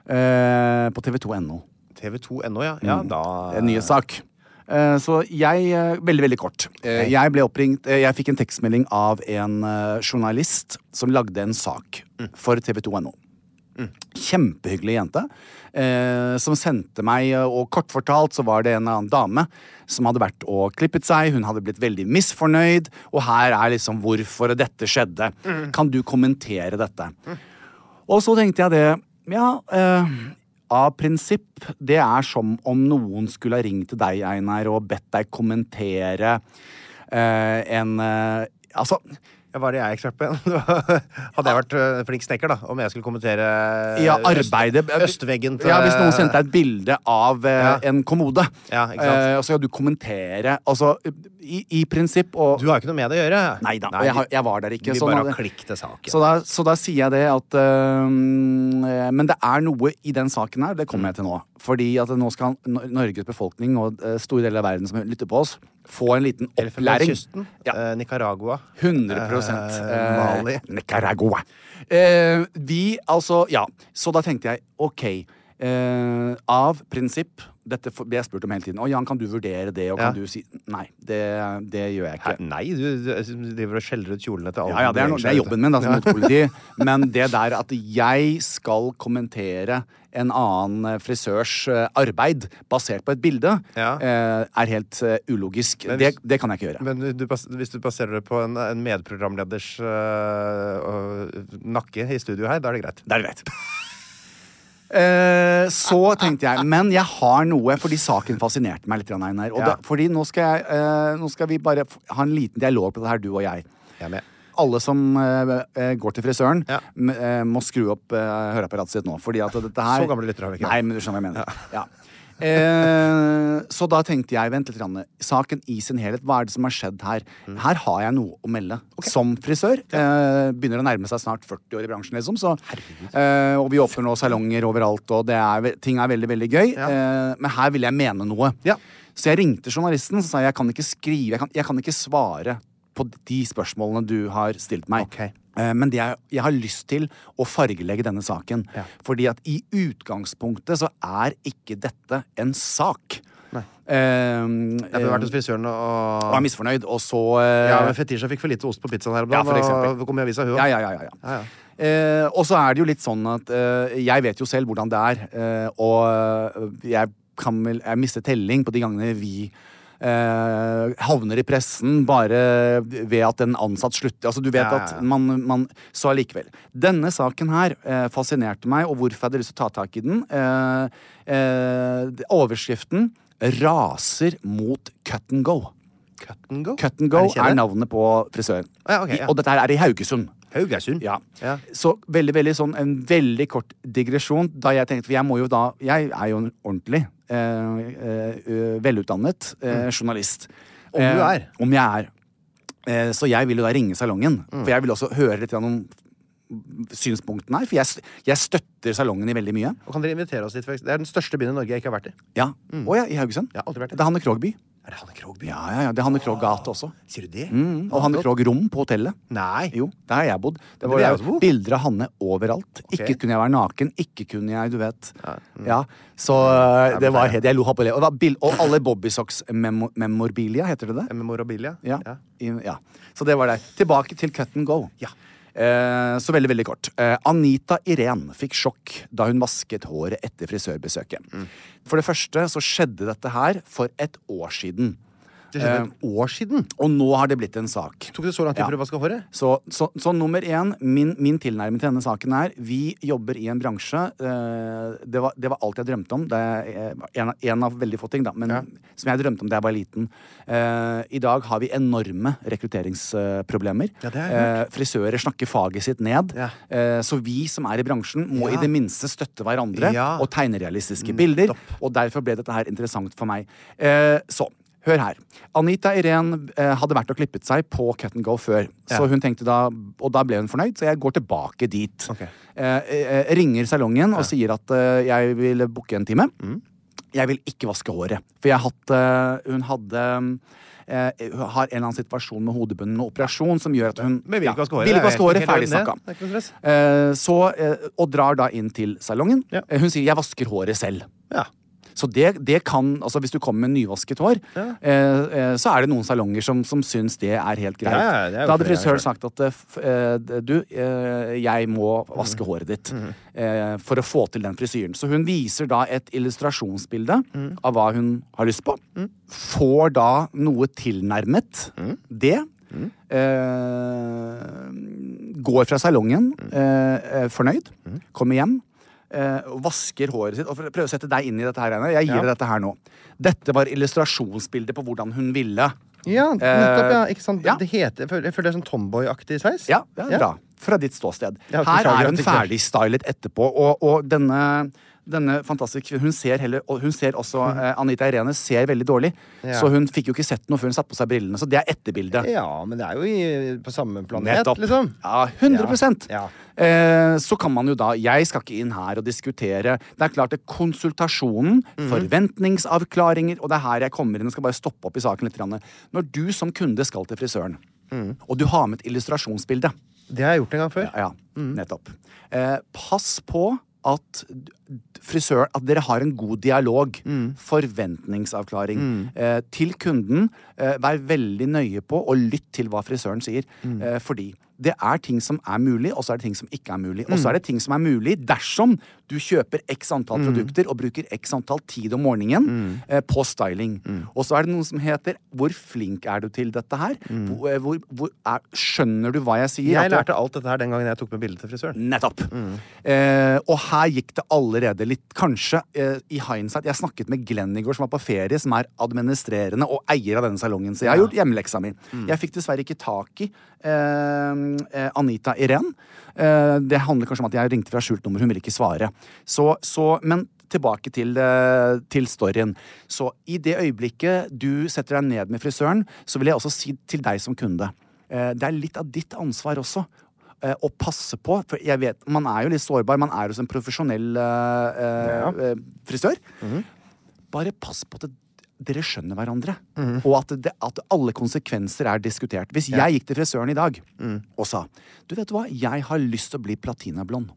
Speaker 4: eh, på tv2.no.
Speaker 5: TV2.no, ja. ja Sånn, da...
Speaker 4: Mm. Det er en nyhetssak. Eh, Så jeg eh, Veldig, veldig kort. Eh, Jeg ble oppringt eh, Jeg fikk en tekstmelding av en eh, journalist som lagde en sak for tv2.no. Kjempehyggelig jente. eh, Som sendte meg eh, Og kort fortalt så var det en annen dame som hadde vært og klippet seg. Hun hadde blitt veldig misfornøyd, og her er liksom hvorfor dette skjedde. Kan du kommentere dette? Og så tenkte jeg det Ja, eh, av prinsipp, det er som om noen skulle ha ringt til deg, Einar, og bedt deg kommentere eh, en eh, Altså
Speaker 5: Ja, Hva er det jeg er ekspert på igjen? Hadde jeg vært øh, flink snekker, da, om jeg skulle kommentere eh,
Speaker 4: ja, arbeidet
Speaker 5: øst, Østveggen til eh,
Speaker 4: Ja, Hvis noen sendte deg et bilde av eh,
Speaker 5: Ja.
Speaker 4: en kommode,
Speaker 5: Ja, ikke sant.
Speaker 4: eh, og så skal du kommentere Altså, i, i prinsipp og
Speaker 5: Du har jo ikke noe med det å gjøre.
Speaker 4: Nei da, og jeg, har- jeg var der ikke.
Speaker 5: Vi
Speaker 4: sånn
Speaker 5: bare
Speaker 4: hadde-
Speaker 5: har klikk til saken.
Speaker 4: Så da, så da sier jeg det at øhm, eh, Men det er noe i den saken her, det kommer jeg til nå. Fordi at nå skal Nor- Norges befolkning og eh, store deler av verden som lytter på oss, få en liten opplæring.
Speaker 5: Kysten, eh, Nicaragua.
Speaker 4: 100
Speaker 5: Eh, Mali.
Speaker 4: eh, Nicaragua. Eh, vi, altså Ja. Så da tenkte jeg OK. Eh, av prinsipp Dette får- blir jeg spurt om hele tiden. Å, Jan, kan du vurdere det? Og kan
Speaker 5: Ja.
Speaker 4: du si Nei, det, det gjør jeg ikke.
Speaker 5: Hæ, nei, du, du driver og skjeller ut kjolene til alle.
Speaker 4: Ja, ja, det er, no, det er jobben min da, som motpoliti. Men det der at jeg skal kommentere en annen eh, frisørs eh, arbeid basert på et bilde,
Speaker 5: Ja.
Speaker 4: eh, er helt eh, ulogisk.
Speaker 5: Men
Speaker 4: Det,
Speaker 5: hvis-
Speaker 4: det kan jeg ikke gjøre.
Speaker 5: Men du, du, bas- hvis du baserer det på en, en medprogramleders øh, øh, nakke i studio her, da er det greit.
Speaker 4: Det er greit. Eh, så tenkte jeg, men jeg har noe, fordi saken fascinerte meg litt. grann, Einar. Og
Speaker 5: Ja.
Speaker 4: da, fordi nå skal, jeg, eh, nå skal vi bare f- ha en liten dialog på det her, du og jeg.
Speaker 5: Jeg er med.
Speaker 4: alle som eh, eh, går til frisøren, m- eh, må skru opp eh, høreapparatet sitt nå. Fordi at dette her
Speaker 5: Så gamle lyttere har vi ikke.
Speaker 4: Nei, men du skjønner hva jeg mener. Ja. Eh, så da tenkte jeg, vent litt. Ranne. Saken i sin helhet, hva er det som har skjedd her? Her har jeg noe å melde. Som frisør. Eh, begynner å nærme seg snart 40 år i bransjen, liksom. Så, eh, og vi åpner nå salonger overalt, og det er, ve- ting er veldig, veldig gøy. Eh, men her vil jeg mene noe. Så jeg ringte journalisten og sa jeg kan ikke skrive, jeg kan, jeg kan ikke svare på de spørsmålene du har stilt meg. Eh, Men det jeg, jeg har lyst til å fargelegge denne saken. Fordi at i utgangspunktet så er ikke dette en sak. Nei.
Speaker 5: Jeg har vært hos frisøren og
Speaker 4: og er misfornøyd, og så eh,
Speaker 5: Ja, men Fetisha fikk for lite ost på pizzaen her om
Speaker 4: Ja,
Speaker 5: dagen.
Speaker 4: for
Speaker 5: og
Speaker 4: eksempel.
Speaker 5: det kom i avisa, hun
Speaker 4: Ja,
Speaker 5: også.
Speaker 4: ja, ja, ja, ja. Eh, og så er det jo litt sånn at eh, jeg vet jo selv hvordan det er, eh, og eh, jeg kan vel Jeg mister telling på de gangene vi eh, havner i pressen bare ved at en ansatt slutter. Altså, du vet
Speaker 5: Ja, ja, ja.
Speaker 4: at man, man Så allikevel. Denne saken her eh, fascinerte meg, og hvorfor jeg hadde lyst til å ta tak i den. Eh, eh, overskriften 'Raser mot cut and go'.
Speaker 5: Cut and go.
Speaker 4: Cut and go
Speaker 5: Oh, Er det kjede?
Speaker 4: er navnet på frisøren.
Speaker 5: Ja, ok, ja.
Speaker 4: I, og dette her er i Haugesund.
Speaker 5: Haugesund.
Speaker 4: Ja.
Speaker 5: Ja.
Speaker 4: Så veldig, veldig sånn en veldig kort digresjon. Da jeg tenkte, for jeg må jo da Jeg er jo en ordentlig eh, eh, velutdannet eh, journalist.
Speaker 5: Mm. Om du er.
Speaker 4: Om jeg er. Eh, så jeg vil jo da ringe salongen.
Speaker 5: Mm.
Speaker 4: For jeg vil også høre litt grann om synspunktene her. For jeg, s- jeg støtter salongen i veldig mye.
Speaker 5: Og kan dere invitere oss dit? for eksempel? Det er den største byen i Norge jeg ikke har vært i.
Speaker 4: Ja. Å ja, i Haugesund?
Speaker 5: Mm. Jeg har aldri vært
Speaker 4: Det er Hanne Krogh by.
Speaker 5: Er det Hanne Krogh by?
Speaker 4: Ja, ja, ja. Det er Hanne Krogh gate også.
Speaker 5: Sier du det?
Speaker 4: Mm, og Hanne Krogh rom på hotellet.
Speaker 5: Nei.
Speaker 4: Jo, der har jeg bodd. Det
Speaker 5: Det
Speaker 4: var
Speaker 5: vil jeg også bo.
Speaker 4: bilder av Hanne overalt. Ikke kunne jeg være naken, ikke kunne jeg, du vet. Ja, Så øh, det var helt Jeg lo happelig. Og, det var bil- og alle Bobbysocks memo, memorabilia, heter det det?
Speaker 5: Memorabilia?
Speaker 4: Ja. I, ja. Så det var det. Tilbake til cut and go.
Speaker 5: Ja.
Speaker 4: Eh, så veldig, veldig kort. Eh, Anita Irén fikk sjokk da hun vasket håret etter frisørbesøket.
Speaker 5: Mm.
Speaker 4: For det første så skjedde dette her for et år siden.
Speaker 5: Det skjedde et
Speaker 4: år siden? Og nå har det blitt en sak.
Speaker 5: Tok det så lang tid for å vaske håret?
Speaker 4: Så, så, så nummer én, min, min tilnærming til denne saken er Vi jobber i en bransje eh, det, var, det var alt jeg drømte om. Det er eh, en, av- en av veldig få ting, da. Men som jeg drømte om da jeg var liten. Eh, I dag har vi enorme rekrutteringsproblemer. Eh,
Speaker 5: Ja, det har jeg hørt.
Speaker 4: frisører snakker faget sitt ned. Eh, så vi som er i bransjen, må
Speaker 5: Ja.
Speaker 4: i det minste støtte hverandre
Speaker 5: Ja.
Speaker 4: og tegne realistiske bilder. Og derfor ble dette her interessant for meg. Eh, så. Hør her. Anita Irén eh, hadde vært og klippet seg på Cut and Go før.
Speaker 5: Ja.
Speaker 4: Så hun tenkte da, Og da ble hun fornøyd, så jeg går tilbake dit. Eh, eh, ringer salongen og sier at eh, jeg vil booke en time.
Speaker 5: Mm.
Speaker 4: Jeg vil ikke vaske håret. For jeg hadde, hun hadde eh, hun har en eller annen situasjon med hodebunnen og operasjon som gjør at hun
Speaker 5: Men vil
Speaker 4: ja,
Speaker 5: ikke vaske håret.
Speaker 4: vil
Speaker 5: det er
Speaker 4: ikke
Speaker 5: helt-
Speaker 4: vaske håret,
Speaker 5: helt i
Speaker 4: ferdig
Speaker 5: orden, det.
Speaker 4: snakka.
Speaker 5: Det er ikke noe stress.
Speaker 4: Eh, så, eh, og drar da inn til salongen. Eh, Hun sier 'jeg vasker håret selv'. Så det, det kan, altså Hvis du kommer med nyvasket hår, eh, eh, så er det noen salonger som, som syns det er helt greit.
Speaker 5: Ja, ja, det er jo
Speaker 4: da hadde
Speaker 5: flere
Speaker 4: frisøren
Speaker 5: ganger.
Speaker 4: sagt at eh, f- eh, du, eh, jeg må vaske håret ditt eh, for å få til den frisyren. Så hun viser da et illustrasjonsbilde av hva hun har lyst på. Får da noe tilnærmet det. Eh, går fra salongen eh, eh, fornøyd. Kommer hjem. Eh, og vasker håret sitt. Og for å prøve å sette deg inn i dette her, Einar. Jeg gir
Speaker 3: Ja.
Speaker 4: deg dette her nå. Dette var illustrasjonsbildet på hvordan hun ville.
Speaker 3: Ja, nettopp, ja. Ikke sant?
Speaker 4: ja.
Speaker 3: Det heter, jeg føler- jeg føler det er sånn tomboy-aktig sveis.
Speaker 4: Ja, ja, bra. Fra ditt ståsted.
Speaker 3: Ja, beklager
Speaker 4: Her er
Speaker 3: at
Speaker 4: hun
Speaker 3: jeg ikke-
Speaker 4: ferdigstylet etterpå, og, og denne denne fantastiske, Hun ser heller, og hun ser også eh, Anita Irene ser veldig dårlig,
Speaker 3: Mm. Ja.
Speaker 4: så hun fikk jo ikke sett noe før hun satte på seg brillene. Så det er etterbildet.
Speaker 3: Ja, men det er jo i, på samme planet,
Speaker 4: Nettopp.
Speaker 3: liksom.
Speaker 4: Ja, 100
Speaker 3: Ja.
Speaker 4: Eh, Så kan man jo da Jeg skal ikke inn her og diskutere. Det er klart det er konsultasjonen,
Speaker 3: Mm.
Speaker 4: forventningsavklaringer, og det er her jeg kommer inn og skal bare stoppe opp i saken litt. grann. Når du som kunde skal til frisøren,
Speaker 3: Mm.
Speaker 4: og du har med et illustrasjonsbilde
Speaker 3: Det har jeg gjort en gang før.
Speaker 4: Ja, ja.
Speaker 5: Mm.
Speaker 4: nettopp. Eh, pass på at d- frisør, at dere har en god dialog.
Speaker 5: Mm.
Speaker 4: Forventningsavklaring. Eh, til kunden, eh, vær veldig nøye på og lytt til hva frisøren sier.
Speaker 5: Mm.
Speaker 4: Eh, fordi det er ting som er mulig, og så er det ting som ikke er mulig. Og
Speaker 5: Mm.
Speaker 4: så er det ting som er mulig dersom du kjøper x antall
Speaker 5: Mm.
Speaker 4: produkter og bruker x antall tid om morgenen eh, på styling.
Speaker 5: Mm.
Speaker 4: Og så er det noe som heter 'hvor flink er du til dette her'? Hvor, eh, hvor, hvor er, skjønner du hva jeg sier? At
Speaker 5: Mm. Jeg
Speaker 4: du-
Speaker 5: lærte alt dette her den gangen jeg tok med bildet til frisøren.
Speaker 4: Nettopp. Eh, og her gikk det allerede litt, kanskje, eh, i hindsight Jeg snakket med Glenn i går, som var på ferie, som er administrerende og eier av denne salongen. Så jeg har gjort hjemmeleksa mi. Jeg fikk dessverre ikke tak i eh, eh, Anita Irén. Eh, det handler kanskje om at jeg ringte fra skjult nummer, hun ville ikke svare. Så, så, men tilbake til, eh, til storyen. Så i det øyeblikket du setter deg ned med frisøren, så vil jeg også si til deg som kunde eh, Det er litt av ditt ansvar også eh, å passe på. For jeg vet, man er jo litt sårbar. Man er hos en profesjonell eh, eh, frisør. Bare pass på at dere skjønner hverandre, og at, det, at alle konsekvenser er diskutert. Hvis jeg gikk til frisøren i dag og sa Du vet du hva, jeg har lyst til å bli platinablond.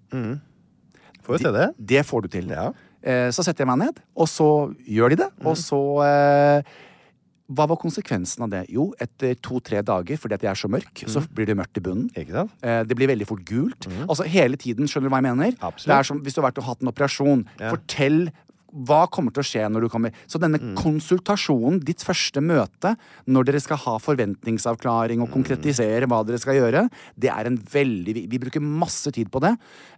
Speaker 5: Får jo til det.
Speaker 4: Det får du til. Eh, så setter jeg meg ned, og så gjør de det. Og så eh, Hva var konsekvensen av det? Jo, etter to-tre dager, fordi at jeg er så mørk, så blir det mørkt i bunnen.
Speaker 5: Ikke sant?
Speaker 4: Eh, Det blir veldig fort gult. Altså Hele tiden, skjønner du hva jeg mener?
Speaker 5: Mhm. Absolutt.
Speaker 4: Det er som hvis du har vært og hatt en operasjon. Fortell hva kommer til å skje når du kommer Så denne
Speaker 5: Mm.
Speaker 4: konsultasjonen, ditt første møte, når dere skal ha forventningsavklaring
Speaker 5: Mm.
Speaker 4: og konkretisere hva dere skal gjøre, det er en veldig Vi vi bruker masse tid på det.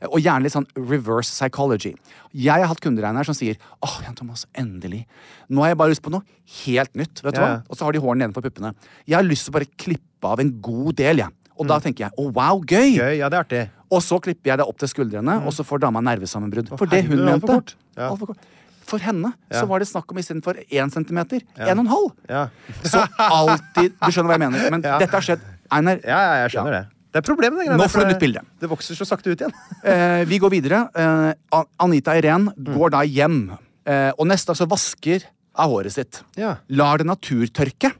Speaker 4: Eh, Og gjerne litt sånn reverse psychology. Jeg har hatt kunder her som sier åh, Jan Thomas, endelig. Nå har jeg bare lyst på noe helt nytt. Vet du
Speaker 5: Ja, ja.
Speaker 4: hva? og så har de hårene nedenfor puppene. Jeg har lyst til å bare klippe av en god del, jeg. Og da tenker jeg å wow,
Speaker 5: Mm.
Speaker 4: gøy!
Speaker 5: Gøy, ja, det er artig.
Speaker 4: Og så klipper jeg det opp til skuldrene, og så får dama nervesammenbrudd. For det
Speaker 5: herregud,
Speaker 4: hun
Speaker 5: det er alt for
Speaker 4: mente.
Speaker 5: kort. Ja.
Speaker 4: Alt for kort. For henne
Speaker 5: Ja.
Speaker 4: så var det snakk om istedenfor én centimeter, en og en halv.
Speaker 5: Ja.
Speaker 4: Så alltid Du skjønner hva jeg mener. Men
Speaker 5: Ja.
Speaker 4: dette har skjedd. Einar,
Speaker 5: Ja, ja, jeg skjønner
Speaker 4: Ja.
Speaker 5: det. Det er problemet, det greiene
Speaker 4: Nå
Speaker 5: der,
Speaker 4: får du
Speaker 5: for
Speaker 4: et nytt bilde.
Speaker 5: Det vokser så sakte ut igjen.
Speaker 4: eh, vi går videre. Eh, An- Anita Irén går da hjem, eh, og neste dag så vasker av håret sitt.
Speaker 5: Ja.
Speaker 4: Lar det naturtørke.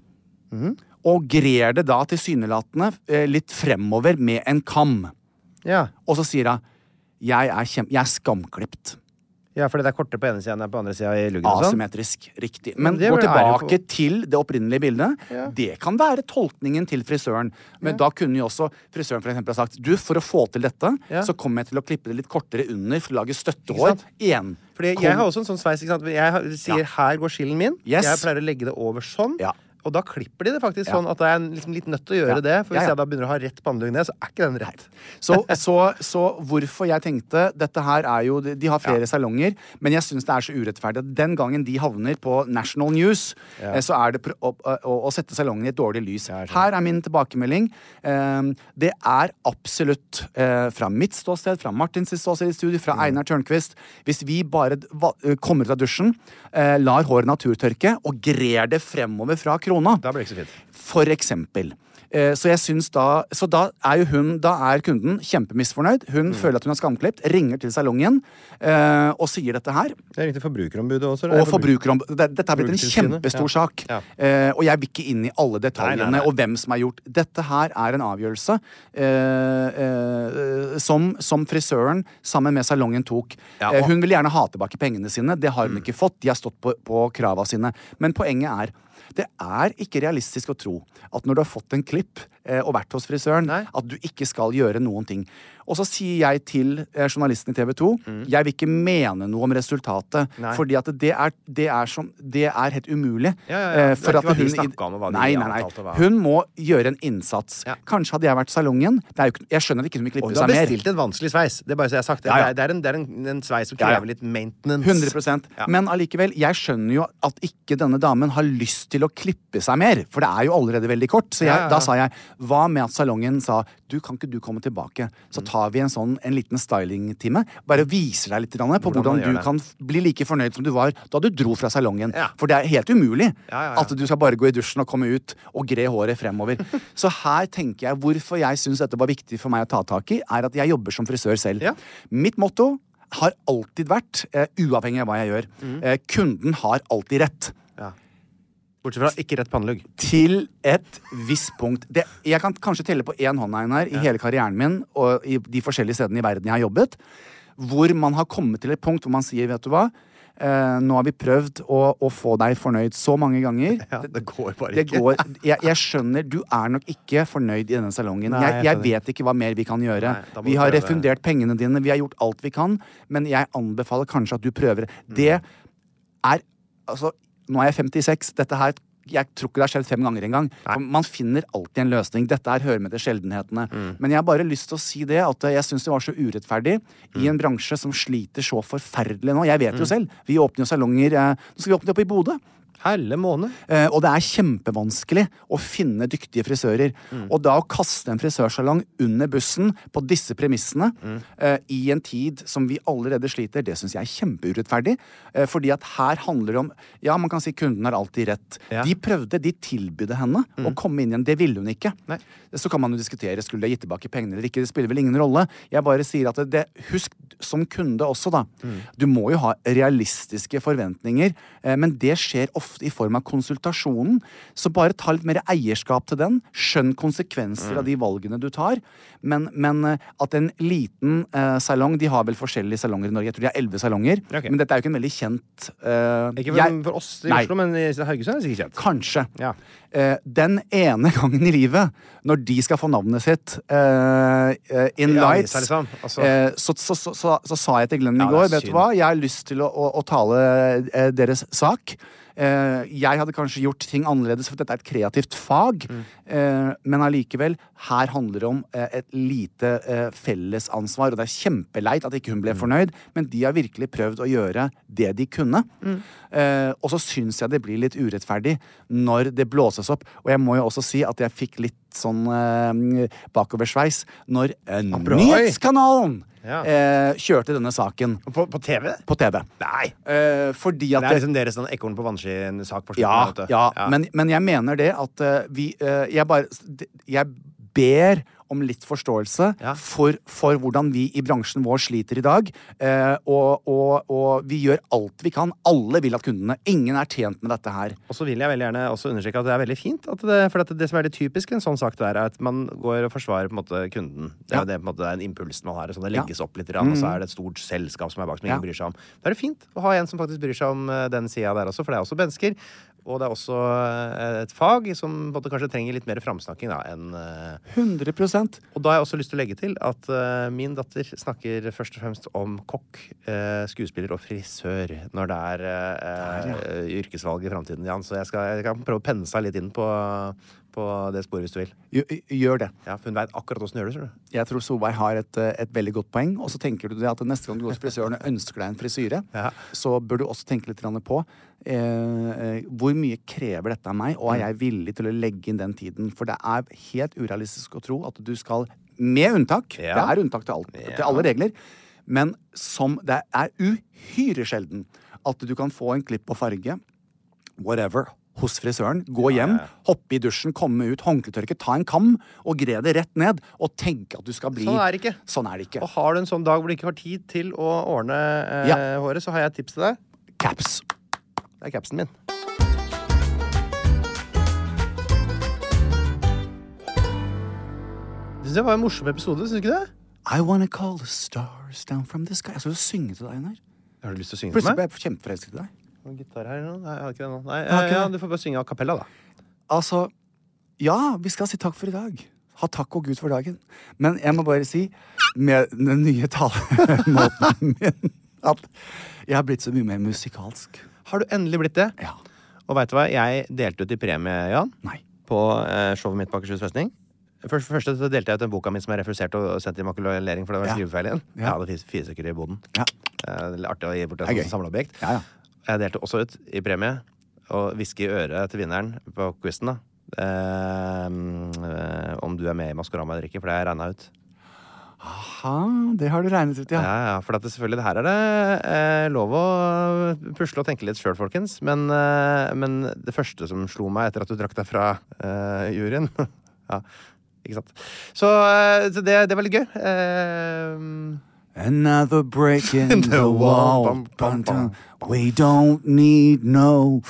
Speaker 4: Og grer det da tilsynelatende eh, litt fremover med en kam.
Speaker 3: Ja.
Speaker 4: Og så sier hun jeg er, kjem, jeg er skamklipt.
Speaker 5: Ja, fordi det er kortere på ene sida enn på andre sida i luggen og sånn?
Speaker 4: Asymmetrisk. Riktig. Men
Speaker 5: det
Speaker 4: gå
Speaker 5: er jo
Speaker 4: tilbake
Speaker 5: på-
Speaker 4: til det opprinnelige bildet. Det kan være tolkningen til frisøren. Men da kunne jo også frisøren for eksempel ha sagt du, for å få til dette,
Speaker 5: Ja.
Speaker 4: så kommer jeg til å klippe det litt kortere under for å lage
Speaker 5: Ikke
Speaker 4: støttehår.
Speaker 5: sant?
Speaker 4: Igjen.
Speaker 5: Fordi jeg har også en sånn sveis. ikke sant? Jeg har- sier 'her går skillen min'.
Speaker 4: Yes.
Speaker 5: Jeg pleier å legge det over sånn. Og da klipper de det faktisk
Speaker 4: Ja.
Speaker 5: sånn at det er en- liksom litt nødt til å gjøre
Speaker 4: Ja.
Speaker 5: det. For hvis
Speaker 4: Ja, ja.
Speaker 5: jeg da begynner å ha rett pannelugg ned, så er ikke den rett.
Speaker 4: Så, så, så hvorfor jeg tenkte Dette her er jo De har flere salonger, men jeg syns det er så urettferdig at den gangen de havner på National News, eh, så er det pr- å, å, å sette salongen i et dårlig lys. her er min tilbakemelding. Eh, Det er absolutt eh, fra mitt ståsted, fra Martins ståsted i studio, fra Einar Tørnquist Hvis vi bare d- va- kommer ut av dusjen, eh, lar håret naturtørke og grer det fremover fra krona
Speaker 5: Da blir det ikke så fint.
Speaker 4: For eksempel. Eh, Så jeg syns da Så da er jo hun Da er kunden kjempemisfornøyd. Hun
Speaker 5: Mm.
Speaker 4: føler at hun er skamklipt, ringer til salongen eh, og sier dette her.
Speaker 5: Jeg ringte Forbrukerombudet også.
Speaker 4: Og forbrukerom... det- Dette er blitt en
Speaker 5: Forbrukertilsynet,
Speaker 4: kjempestor
Speaker 5: ja.
Speaker 4: sak. Eh, og jeg vil ikke inn i alle detaljene
Speaker 5: Nei, nei, nei.
Speaker 4: og hvem som har gjort Dette her er en avgjørelse eh, eh, som, som frisøren sammen med salongen tok.
Speaker 5: Ja,
Speaker 4: Eh,
Speaker 5: og- Mm.
Speaker 4: hun vil gjerne ha tilbake pengene sine. Det har hun ikke fått. De har stått på, på krava sine. Men poenget er det er ikke realistisk å tro at når du har fått en klipp eh, og vært hos frisøren, at du ikke skal gjøre noen ting. Og så sier jeg til eh, journalisten i TV 2 jeg vil ikke mene noe om resultatet.
Speaker 5: Mm. Nei.
Speaker 4: Fordi at det er, det er, som, det er helt umulig.
Speaker 5: Ja, ja, ja.
Speaker 4: Eh,
Speaker 5: Det er
Speaker 4: For
Speaker 5: ikke
Speaker 4: at
Speaker 5: hva de
Speaker 4: hun,
Speaker 5: snakket om, og hva de
Speaker 4: nei, nei,
Speaker 5: avtalte,
Speaker 4: nei.
Speaker 5: hva-
Speaker 4: Hun må gjøre en innsats. Kanskje hadde jeg vært salongen. Det er jo ikke, jeg skjønner at ikke hun vil
Speaker 5: Og
Speaker 4: klippe
Speaker 5: du har
Speaker 4: seg mer.
Speaker 5: bestilt en vanskelig sveis. Det er bare så jeg har sagt.
Speaker 4: Ja, ja.
Speaker 5: Det er, det er, en, det er en, en sveis som
Speaker 4: Ja, ja.
Speaker 5: krever litt maintenance.
Speaker 4: 100
Speaker 5: Ja.
Speaker 4: Men allikevel, jeg skjønner jo at ikke denne damen har lyst til å klippe seg mer. For det er jo allerede veldig kort. Så
Speaker 5: Ja,
Speaker 4: jeg,
Speaker 5: ja, ja.
Speaker 4: da sa jeg hva med at salongen sa du kan ikke du komme tilbake?
Speaker 5: Mm.
Speaker 4: Så tar vi en sånn en liten stylingtime. Bare viser deg litt grann på
Speaker 5: Hvordan man
Speaker 4: hvordan,
Speaker 5: gjør
Speaker 4: du
Speaker 5: det.
Speaker 4: kan f- bli like fornøyd som du var da du dro fra salongen.
Speaker 5: Ja.
Speaker 4: For det er helt umulig
Speaker 5: Ja, ja, ja.
Speaker 4: at du skal bare gå i dusjen og komme ut og gre håret fremover. så her tenker jeg hvorfor jeg syns dette var viktig for meg å ta tak i, er at jeg jobber som frisør selv. Mitt motto har alltid vært, eh, uavhengig av hva jeg gjør,
Speaker 5: Mhm.
Speaker 4: eh, kunden har alltid rett.
Speaker 5: Bortsett fra ikke rett pannelugg.
Speaker 4: Til et visst punkt. Det, jeg kan kanskje telle på én hånd Einar, i hele karrieren min og i de forskjellige stedene i verden jeg har jobbet, hvor man har kommet til et punkt hvor man sier, vet du hva Eh, nå har vi prøvd å, å få deg fornøyd så mange ganger.
Speaker 5: det går bare
Speaker 4: Det
Speaker 5: ikke.
Speaker 4: går, jeg, jeg skjønner, du er nok ikke fornøyd i denne salongen.
Speaker 5: Nei,
Speaker 4: jeg,
Speaker 5: jeg
Speaker 4: jeg vet ikke hva mer vi kan gjøre.
Speaker 5: da må
Speaker 4: vi
Speaker 5: du
Speaker 4: har
Speaker 5: prøve.
Speaker 4: refundert pengene dine, vi har gjort alt vi kan, men jeg anbefaler kanskje at du prøver.
Speaker 5: Mm.
Speaker 4: Det er Altså, nå er jeg 56. Dette her jeg tror ikke det har skjedd fem ganger engang. For Man finner alltid en løsning. Dette her hører med til sjeldenhetene.
Speaker 5: Mm.
Speaker 4: Men jeg har bare lyst til å si det at jeg syns det var så urettferdig
Speaker 5: Mm.
Speaker 4: i en bransje som sliter så forferdelig nå. Jeg vet jo selv. Vi åpner jo salonger eh, Nå skal vi åpne opp i Bodø.
Speaker 5: Helle måned.
Speaker 4: Eh, og det er kjempevanskelig å finne dyktige frisører. Og da å kaste en frisørsalong under bussen på disse premissene eh, i en tid som vi allerede sliter, det syns jeg er kjempeurettferdig. Eh, fordi at her handler det om Ja, man kan si kunden har alltid rett. De prøvde, de tilbydde henne å komme inn igjen. Det ville hun ikke. Så kan man jo diskutere skulle de gitt tilbake pengene eller ikke. Det spiller vel ingen rolle. Jeg bare sier at det, det Husk som kunde også, da. Du må jo ha realistiske forventninger, eh, men det skjer ofte i form av konsultasjonen. Så bare ta litt mer eierskap til den. Skjønn konsekvenser av de valgene du tar. Men, men eh, at en liten eh, salong De har vel forskjellige salonger i Norge. Jeg tror de har elleve salonger.
Speaker 5: Ok.
Speaker 4: Men dette er jo ikke en veldig kjent eh,
Speaker 5: Ikke for,
Speaker 4: jeg-
Speaker 5: for oss i
Speaker 4: Nei.
Speaker 5: Oslo, men i Haugesund er det sikkert kjent.
Speaker 4: Kanskje.
Speaker 5: Ja.
Speaker 4: Eh, den ene gangen i livet, når de skal få navnet sitt eh, eh, in
Speaker 5: I
Speaker 4: lights,
Speaker 5: avisa, liksom. Altså-
Speaker 4: eh, så, så, så, så, så sa jeg til Glenn
Speaker 5: Ja,
Speaker 4: i
Speaker 5: det er
Speaker 4: går Vet du
Speaker 5: synd.
Speaker 4: hva, jeg har lyst til å, å, å tale eh, deres sak. Eh, jeg hadde kanskje gjort ting annerledes, for dette er et kreativt fag.
Speaker 5: Mm.
Speaker 4: Eh, men allikevel, her handler det om eh, et lite eh, fellesansvar, og det er kjempeleit at ikke hun
Speaker 5: Mm.
Speaker 4: ble fornøyd, men de har virkelig prøvd å gjøre det de kunne.
Speaker 5: Mm.
Speaker 4: Eh, og så syns jeg det blir litt urettferdig når det blåses opp. Og jeg må jo også si at jeg fikk litt sånn eh, bakoversveis når eh,
Speaker 5: bra.
Speaker 4: nyhetskanalen
Speaker 5: Ja.
Speaker 4: eh, kjørte denne saken
Speaker 5: På, på TV?
Speaker 4: på TV.
Speaker 5: Nei!
Speaker 4: Eh, fordi
Speaker 5: Det
Speaker 4: at
Speaker 5: er liksom deres sånn ekorn på vannski-sak på slutten.
Speaker 4: ja,
Speaker 5: vet du.
Speaker 4: ja, men, men jeg mener det at eh, vi eh, jeg, bare, jeg ber om litt forståelse for, for hvordan vi i bransjen vår sliter i dag. Eh, og, og, og vi gjør alt vi kan. Alle vil at kundene Ingen er tjent med dette her.
Speaker 5: Og så vil jeg veldig gjerne også understreke at det er veldig fint. At det, for at det som er litt typisk i en sånn sak, det er at man går og forsvarer på en måte kunden. Det er jo det, på en måte, det er en impulsen man har. Så det
Speaker 4: Ja.
Speaker 5: legges opp litt, grann, og så
Speaker 4: Mhm.
Speaker 5: er det et stort selskap som er bak som
Speaker 4: Ja.
Speaker 5: ingen bryr seg om. Da er det fint å ha en som faktisk bryr seg om eh, den sida der også, for det er også mennesker. Og det er også eh, et fag som på en måte kanskje trenger litt mer framsnakking da, enn eh,
Speaker 4: 100
Speaker 5: og da har jeg også lyst til å legge til at eh, min datter snakker først og fremst om kokk, eh, skuespiller og frisør når det er eh, eh, yrkesvalg i framtiden, Jan. Så jeg, skal, jeg kan prøve å penne seg litt inn på, på det sporet hvis du vil.
Speaker 4: Gjør det.
Speaker 5: Ja, for hun veit akkurat åssen du gjør det, ser du.
Speaker 4: Jeg tror Solveig har et, eh, et veldig godt poeng. Og så tenker du det at neste gang du går til frisøren og ønsker deg en frisyre, så bør du også tenke litt grann på eh, eh, hvor mye krever dette av meg, og
Speaker 8: Mm.
Speaker 4: er jeg villig til å legge inn den tiden? For det er helt urealistisk å tro at du skal, med unntak Det
Speaker 8: Ja.
Speaker 4: er unntak til, alt, til alle regler. Men som det er uhyre sjelden at du kan få en klipp på farge whatever hos frisøren. Gå hjem, hoppe i dusjen, komme ut, håndkletørke, ta en kam og gre det rett ned. Og tenke at du skal bli
Speaker 5: Sånn er det ikke.
Speaker 4: Sånn er det ikke.
Speaker 5: Og har du en sånn dag hvor du ikke har tid til å ordne eh,
Speaker 4: Ja.
Speaker 5: håret, så har jeg et tips til deg.
Speaker 4: Caps.
Speaker 5: Det er capsen min. Jeg synes Det var en morsom episode, syns du ikke det?
Speaker 4: I wanna call the stars down from the sky. Jeg skal jo synge til deg, Einar.
Speaker 5: Har du lyst til å synge
Speaker 4: Plutselig
Speaker 5: for meg?
Speaker 4: ble jeg kjempeforelsket i deg.
Speaker 5: Har du gitar her nå? Nei, jeg har ikke det nå. Nei, eh,
Speaker 4: Jeg har ikke
Speaker 5: ja,
Speaker 4: det.
Speaker 5: du får bare synge a cappella, da.
Speaker 4: Altså, ja, vi skal si takk for i dag. Ha takk og Gud for dagen. Men jeg må bare si, med den nye talemåten min, at jeg har blitt så mye mer musikalsk.
Speaker 5: Har du endelig blitt det?
Speaker 4: Ja.
Speaker 5: Og veit du hva? Jeg delte ut i premie, Jan, på eh, showet mitt på Akershus festning. Først, først så delte jeg ut den boka mi som er refusert og sendt i makulering, for det var en skrivefeil igjen.
Speaker 4: Ja.
Speaker 5: Jeg hadde fire, fire stykker i boden. Eh, det er artig å gi bort
Speaker 4: Det er
Speaker 5: et
Speaker 4: gøy.
Speaker 5: samleobjekt.
Speaker 4: Ja, ja.
Speaker 5: Jeg delte også ut i premie, og hviske i øret til vinneren på quizen, da. Eh, eh, om du er med i Maskorama eller ikke, for det har jeg regna ut.
Speaker 4: Aha, det har du regnet ut,
Speaker 5: Ja,
Speaker 4: ja.
Speaker 5: ja, for at det, selvfølgelig, det her er det eh, lov å pusle og tenke litt sjøl, folkens. Men, eh, men det første som slo meg etter at du trakk deg fra eh, juryen Ja, ikke sant. Så, eh, så det, det var litt gøy. Eh,
Speaker 4: Another break in the
Speaker 5: The
Speaker 4: wall.
Speaker 5: wall.
Speaker 4: Bum, dum. We don't need no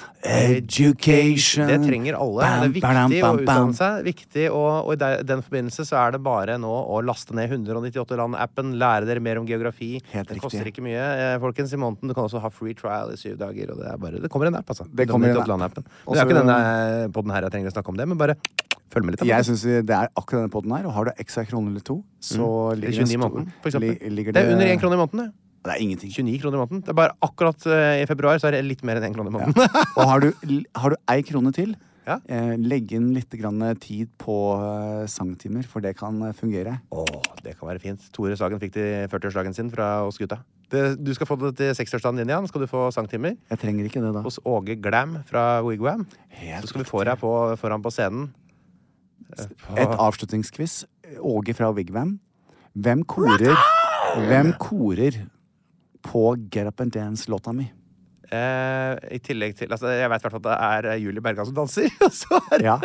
Speaker 4: education.
Speaker 5: Det trenger alle. Det er
Speaker 4: Bam,
Speaker 5: viktig å
Speaker 4: bam, bam, bam.
Speaker 5: utdanne seg. Viktig, og, og i de- den forbindelse så er det bare nå å laste ned 198 land-appen, lære dere mer om geografi. det koster ikke mye, eh, folkens, i måneden. Du kan også ha free trial i syv dager, og det er bare Det kommer en app, altså.
Speaker 4: Det kommer en app.
Speaker 5: 198 land-appen.
Speaker 4: Og
Speaker 5: Det er
Speaker 4: så-
Speaker 5: ikke denne eh, podden her jeg trenger å snakke om det, men bare følg med litt. da,
Speaker 4: Jeg
Speaker 5: folkens.
Speaker 4: syns det er akkurat denne poden her. Og har du ekstra kroner eller to, så
Speaker 5: Mm.
Speaker 4: ligger
Speaker 5: Eller 29 i
Speaker 4: stor-
Speaker 5: måneden, for eksempel.
Speaker 4: li- ligger
Speaker 5: Det er under 1 krone i måneden, det.
Speaker 4: Det er ingenting.
Speaker 5: 29 kroner i måneden. Det er bare akkurat eh, i februar så er det litt mer enn 1 krone i måneden.
Speaker 4: Og har du, har du ei krone til, eh, legg inn litt grann tid på eh, sangtimer, for det kan eh, fungere.
Speaker 5: Åh, det kan være fint. Tore Sagen fikk det i 40-årsdagen sin fra oss gutta. Det, du skal få det til 60-årsdagen din igjen. Skal du få sangtimer
Speaker 4: Jeg trenger ikke det, da.
Speaker 5: hos Åge Glam fra Wigwam. Så skal vi få deg på, foran på scenen.
Speaker 4: Et avslutningsquiz. Åge fra Wigwam. Hvem korer Hvem korer på Get Up and Dance-låta mi?
Speaker 5: Eh, I tillegg til altså, Jeg vet i hvert fall at det er eh, Julie Bergan som danser. Og så er det
Speaker 4: Ja.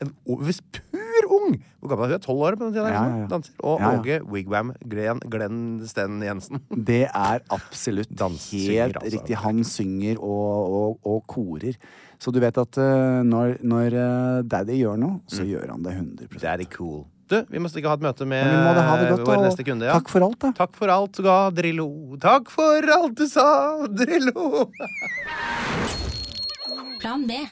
Speaker 5: en o- hvis pur ung! Hvor gammel er hun? Tolv år? på den tiden,
Speaker 4: Ja,
Speaker 5: liksom,
Speaker 4: ja, ja.
Speaker 5: Danser. Og
Speaker 4: Ja, ja.
Speaker 5: Åge Wigwam Glenn, Glenn Sten Jensen.
Speaker 4: Det er absolutt
Speaker 5: synger,
Speaker 4: helt
Speaker 5: altså.
Speaker 4: riktig. Han synger og, og, og korer. Så du vet at eh, når, når eh, daddy gjør noe, så
Speaker 5: Mm.
Speaker 4: gjør han det 100
Speaker 5: Daddy cool. Du, vi må stikke og ha et møte med
Speaker 4: Men vi må da ha det godt,
Speaker 5: eh, vår
Speaker 4: og
Speaker 5: neste kunde. Ja.
Speaker 4: Takk for alt, da.
Speaker 5: Takk for alt du ga, Drillo. Takk for alt du sa, Drillo.
Speaker 2: Plan B.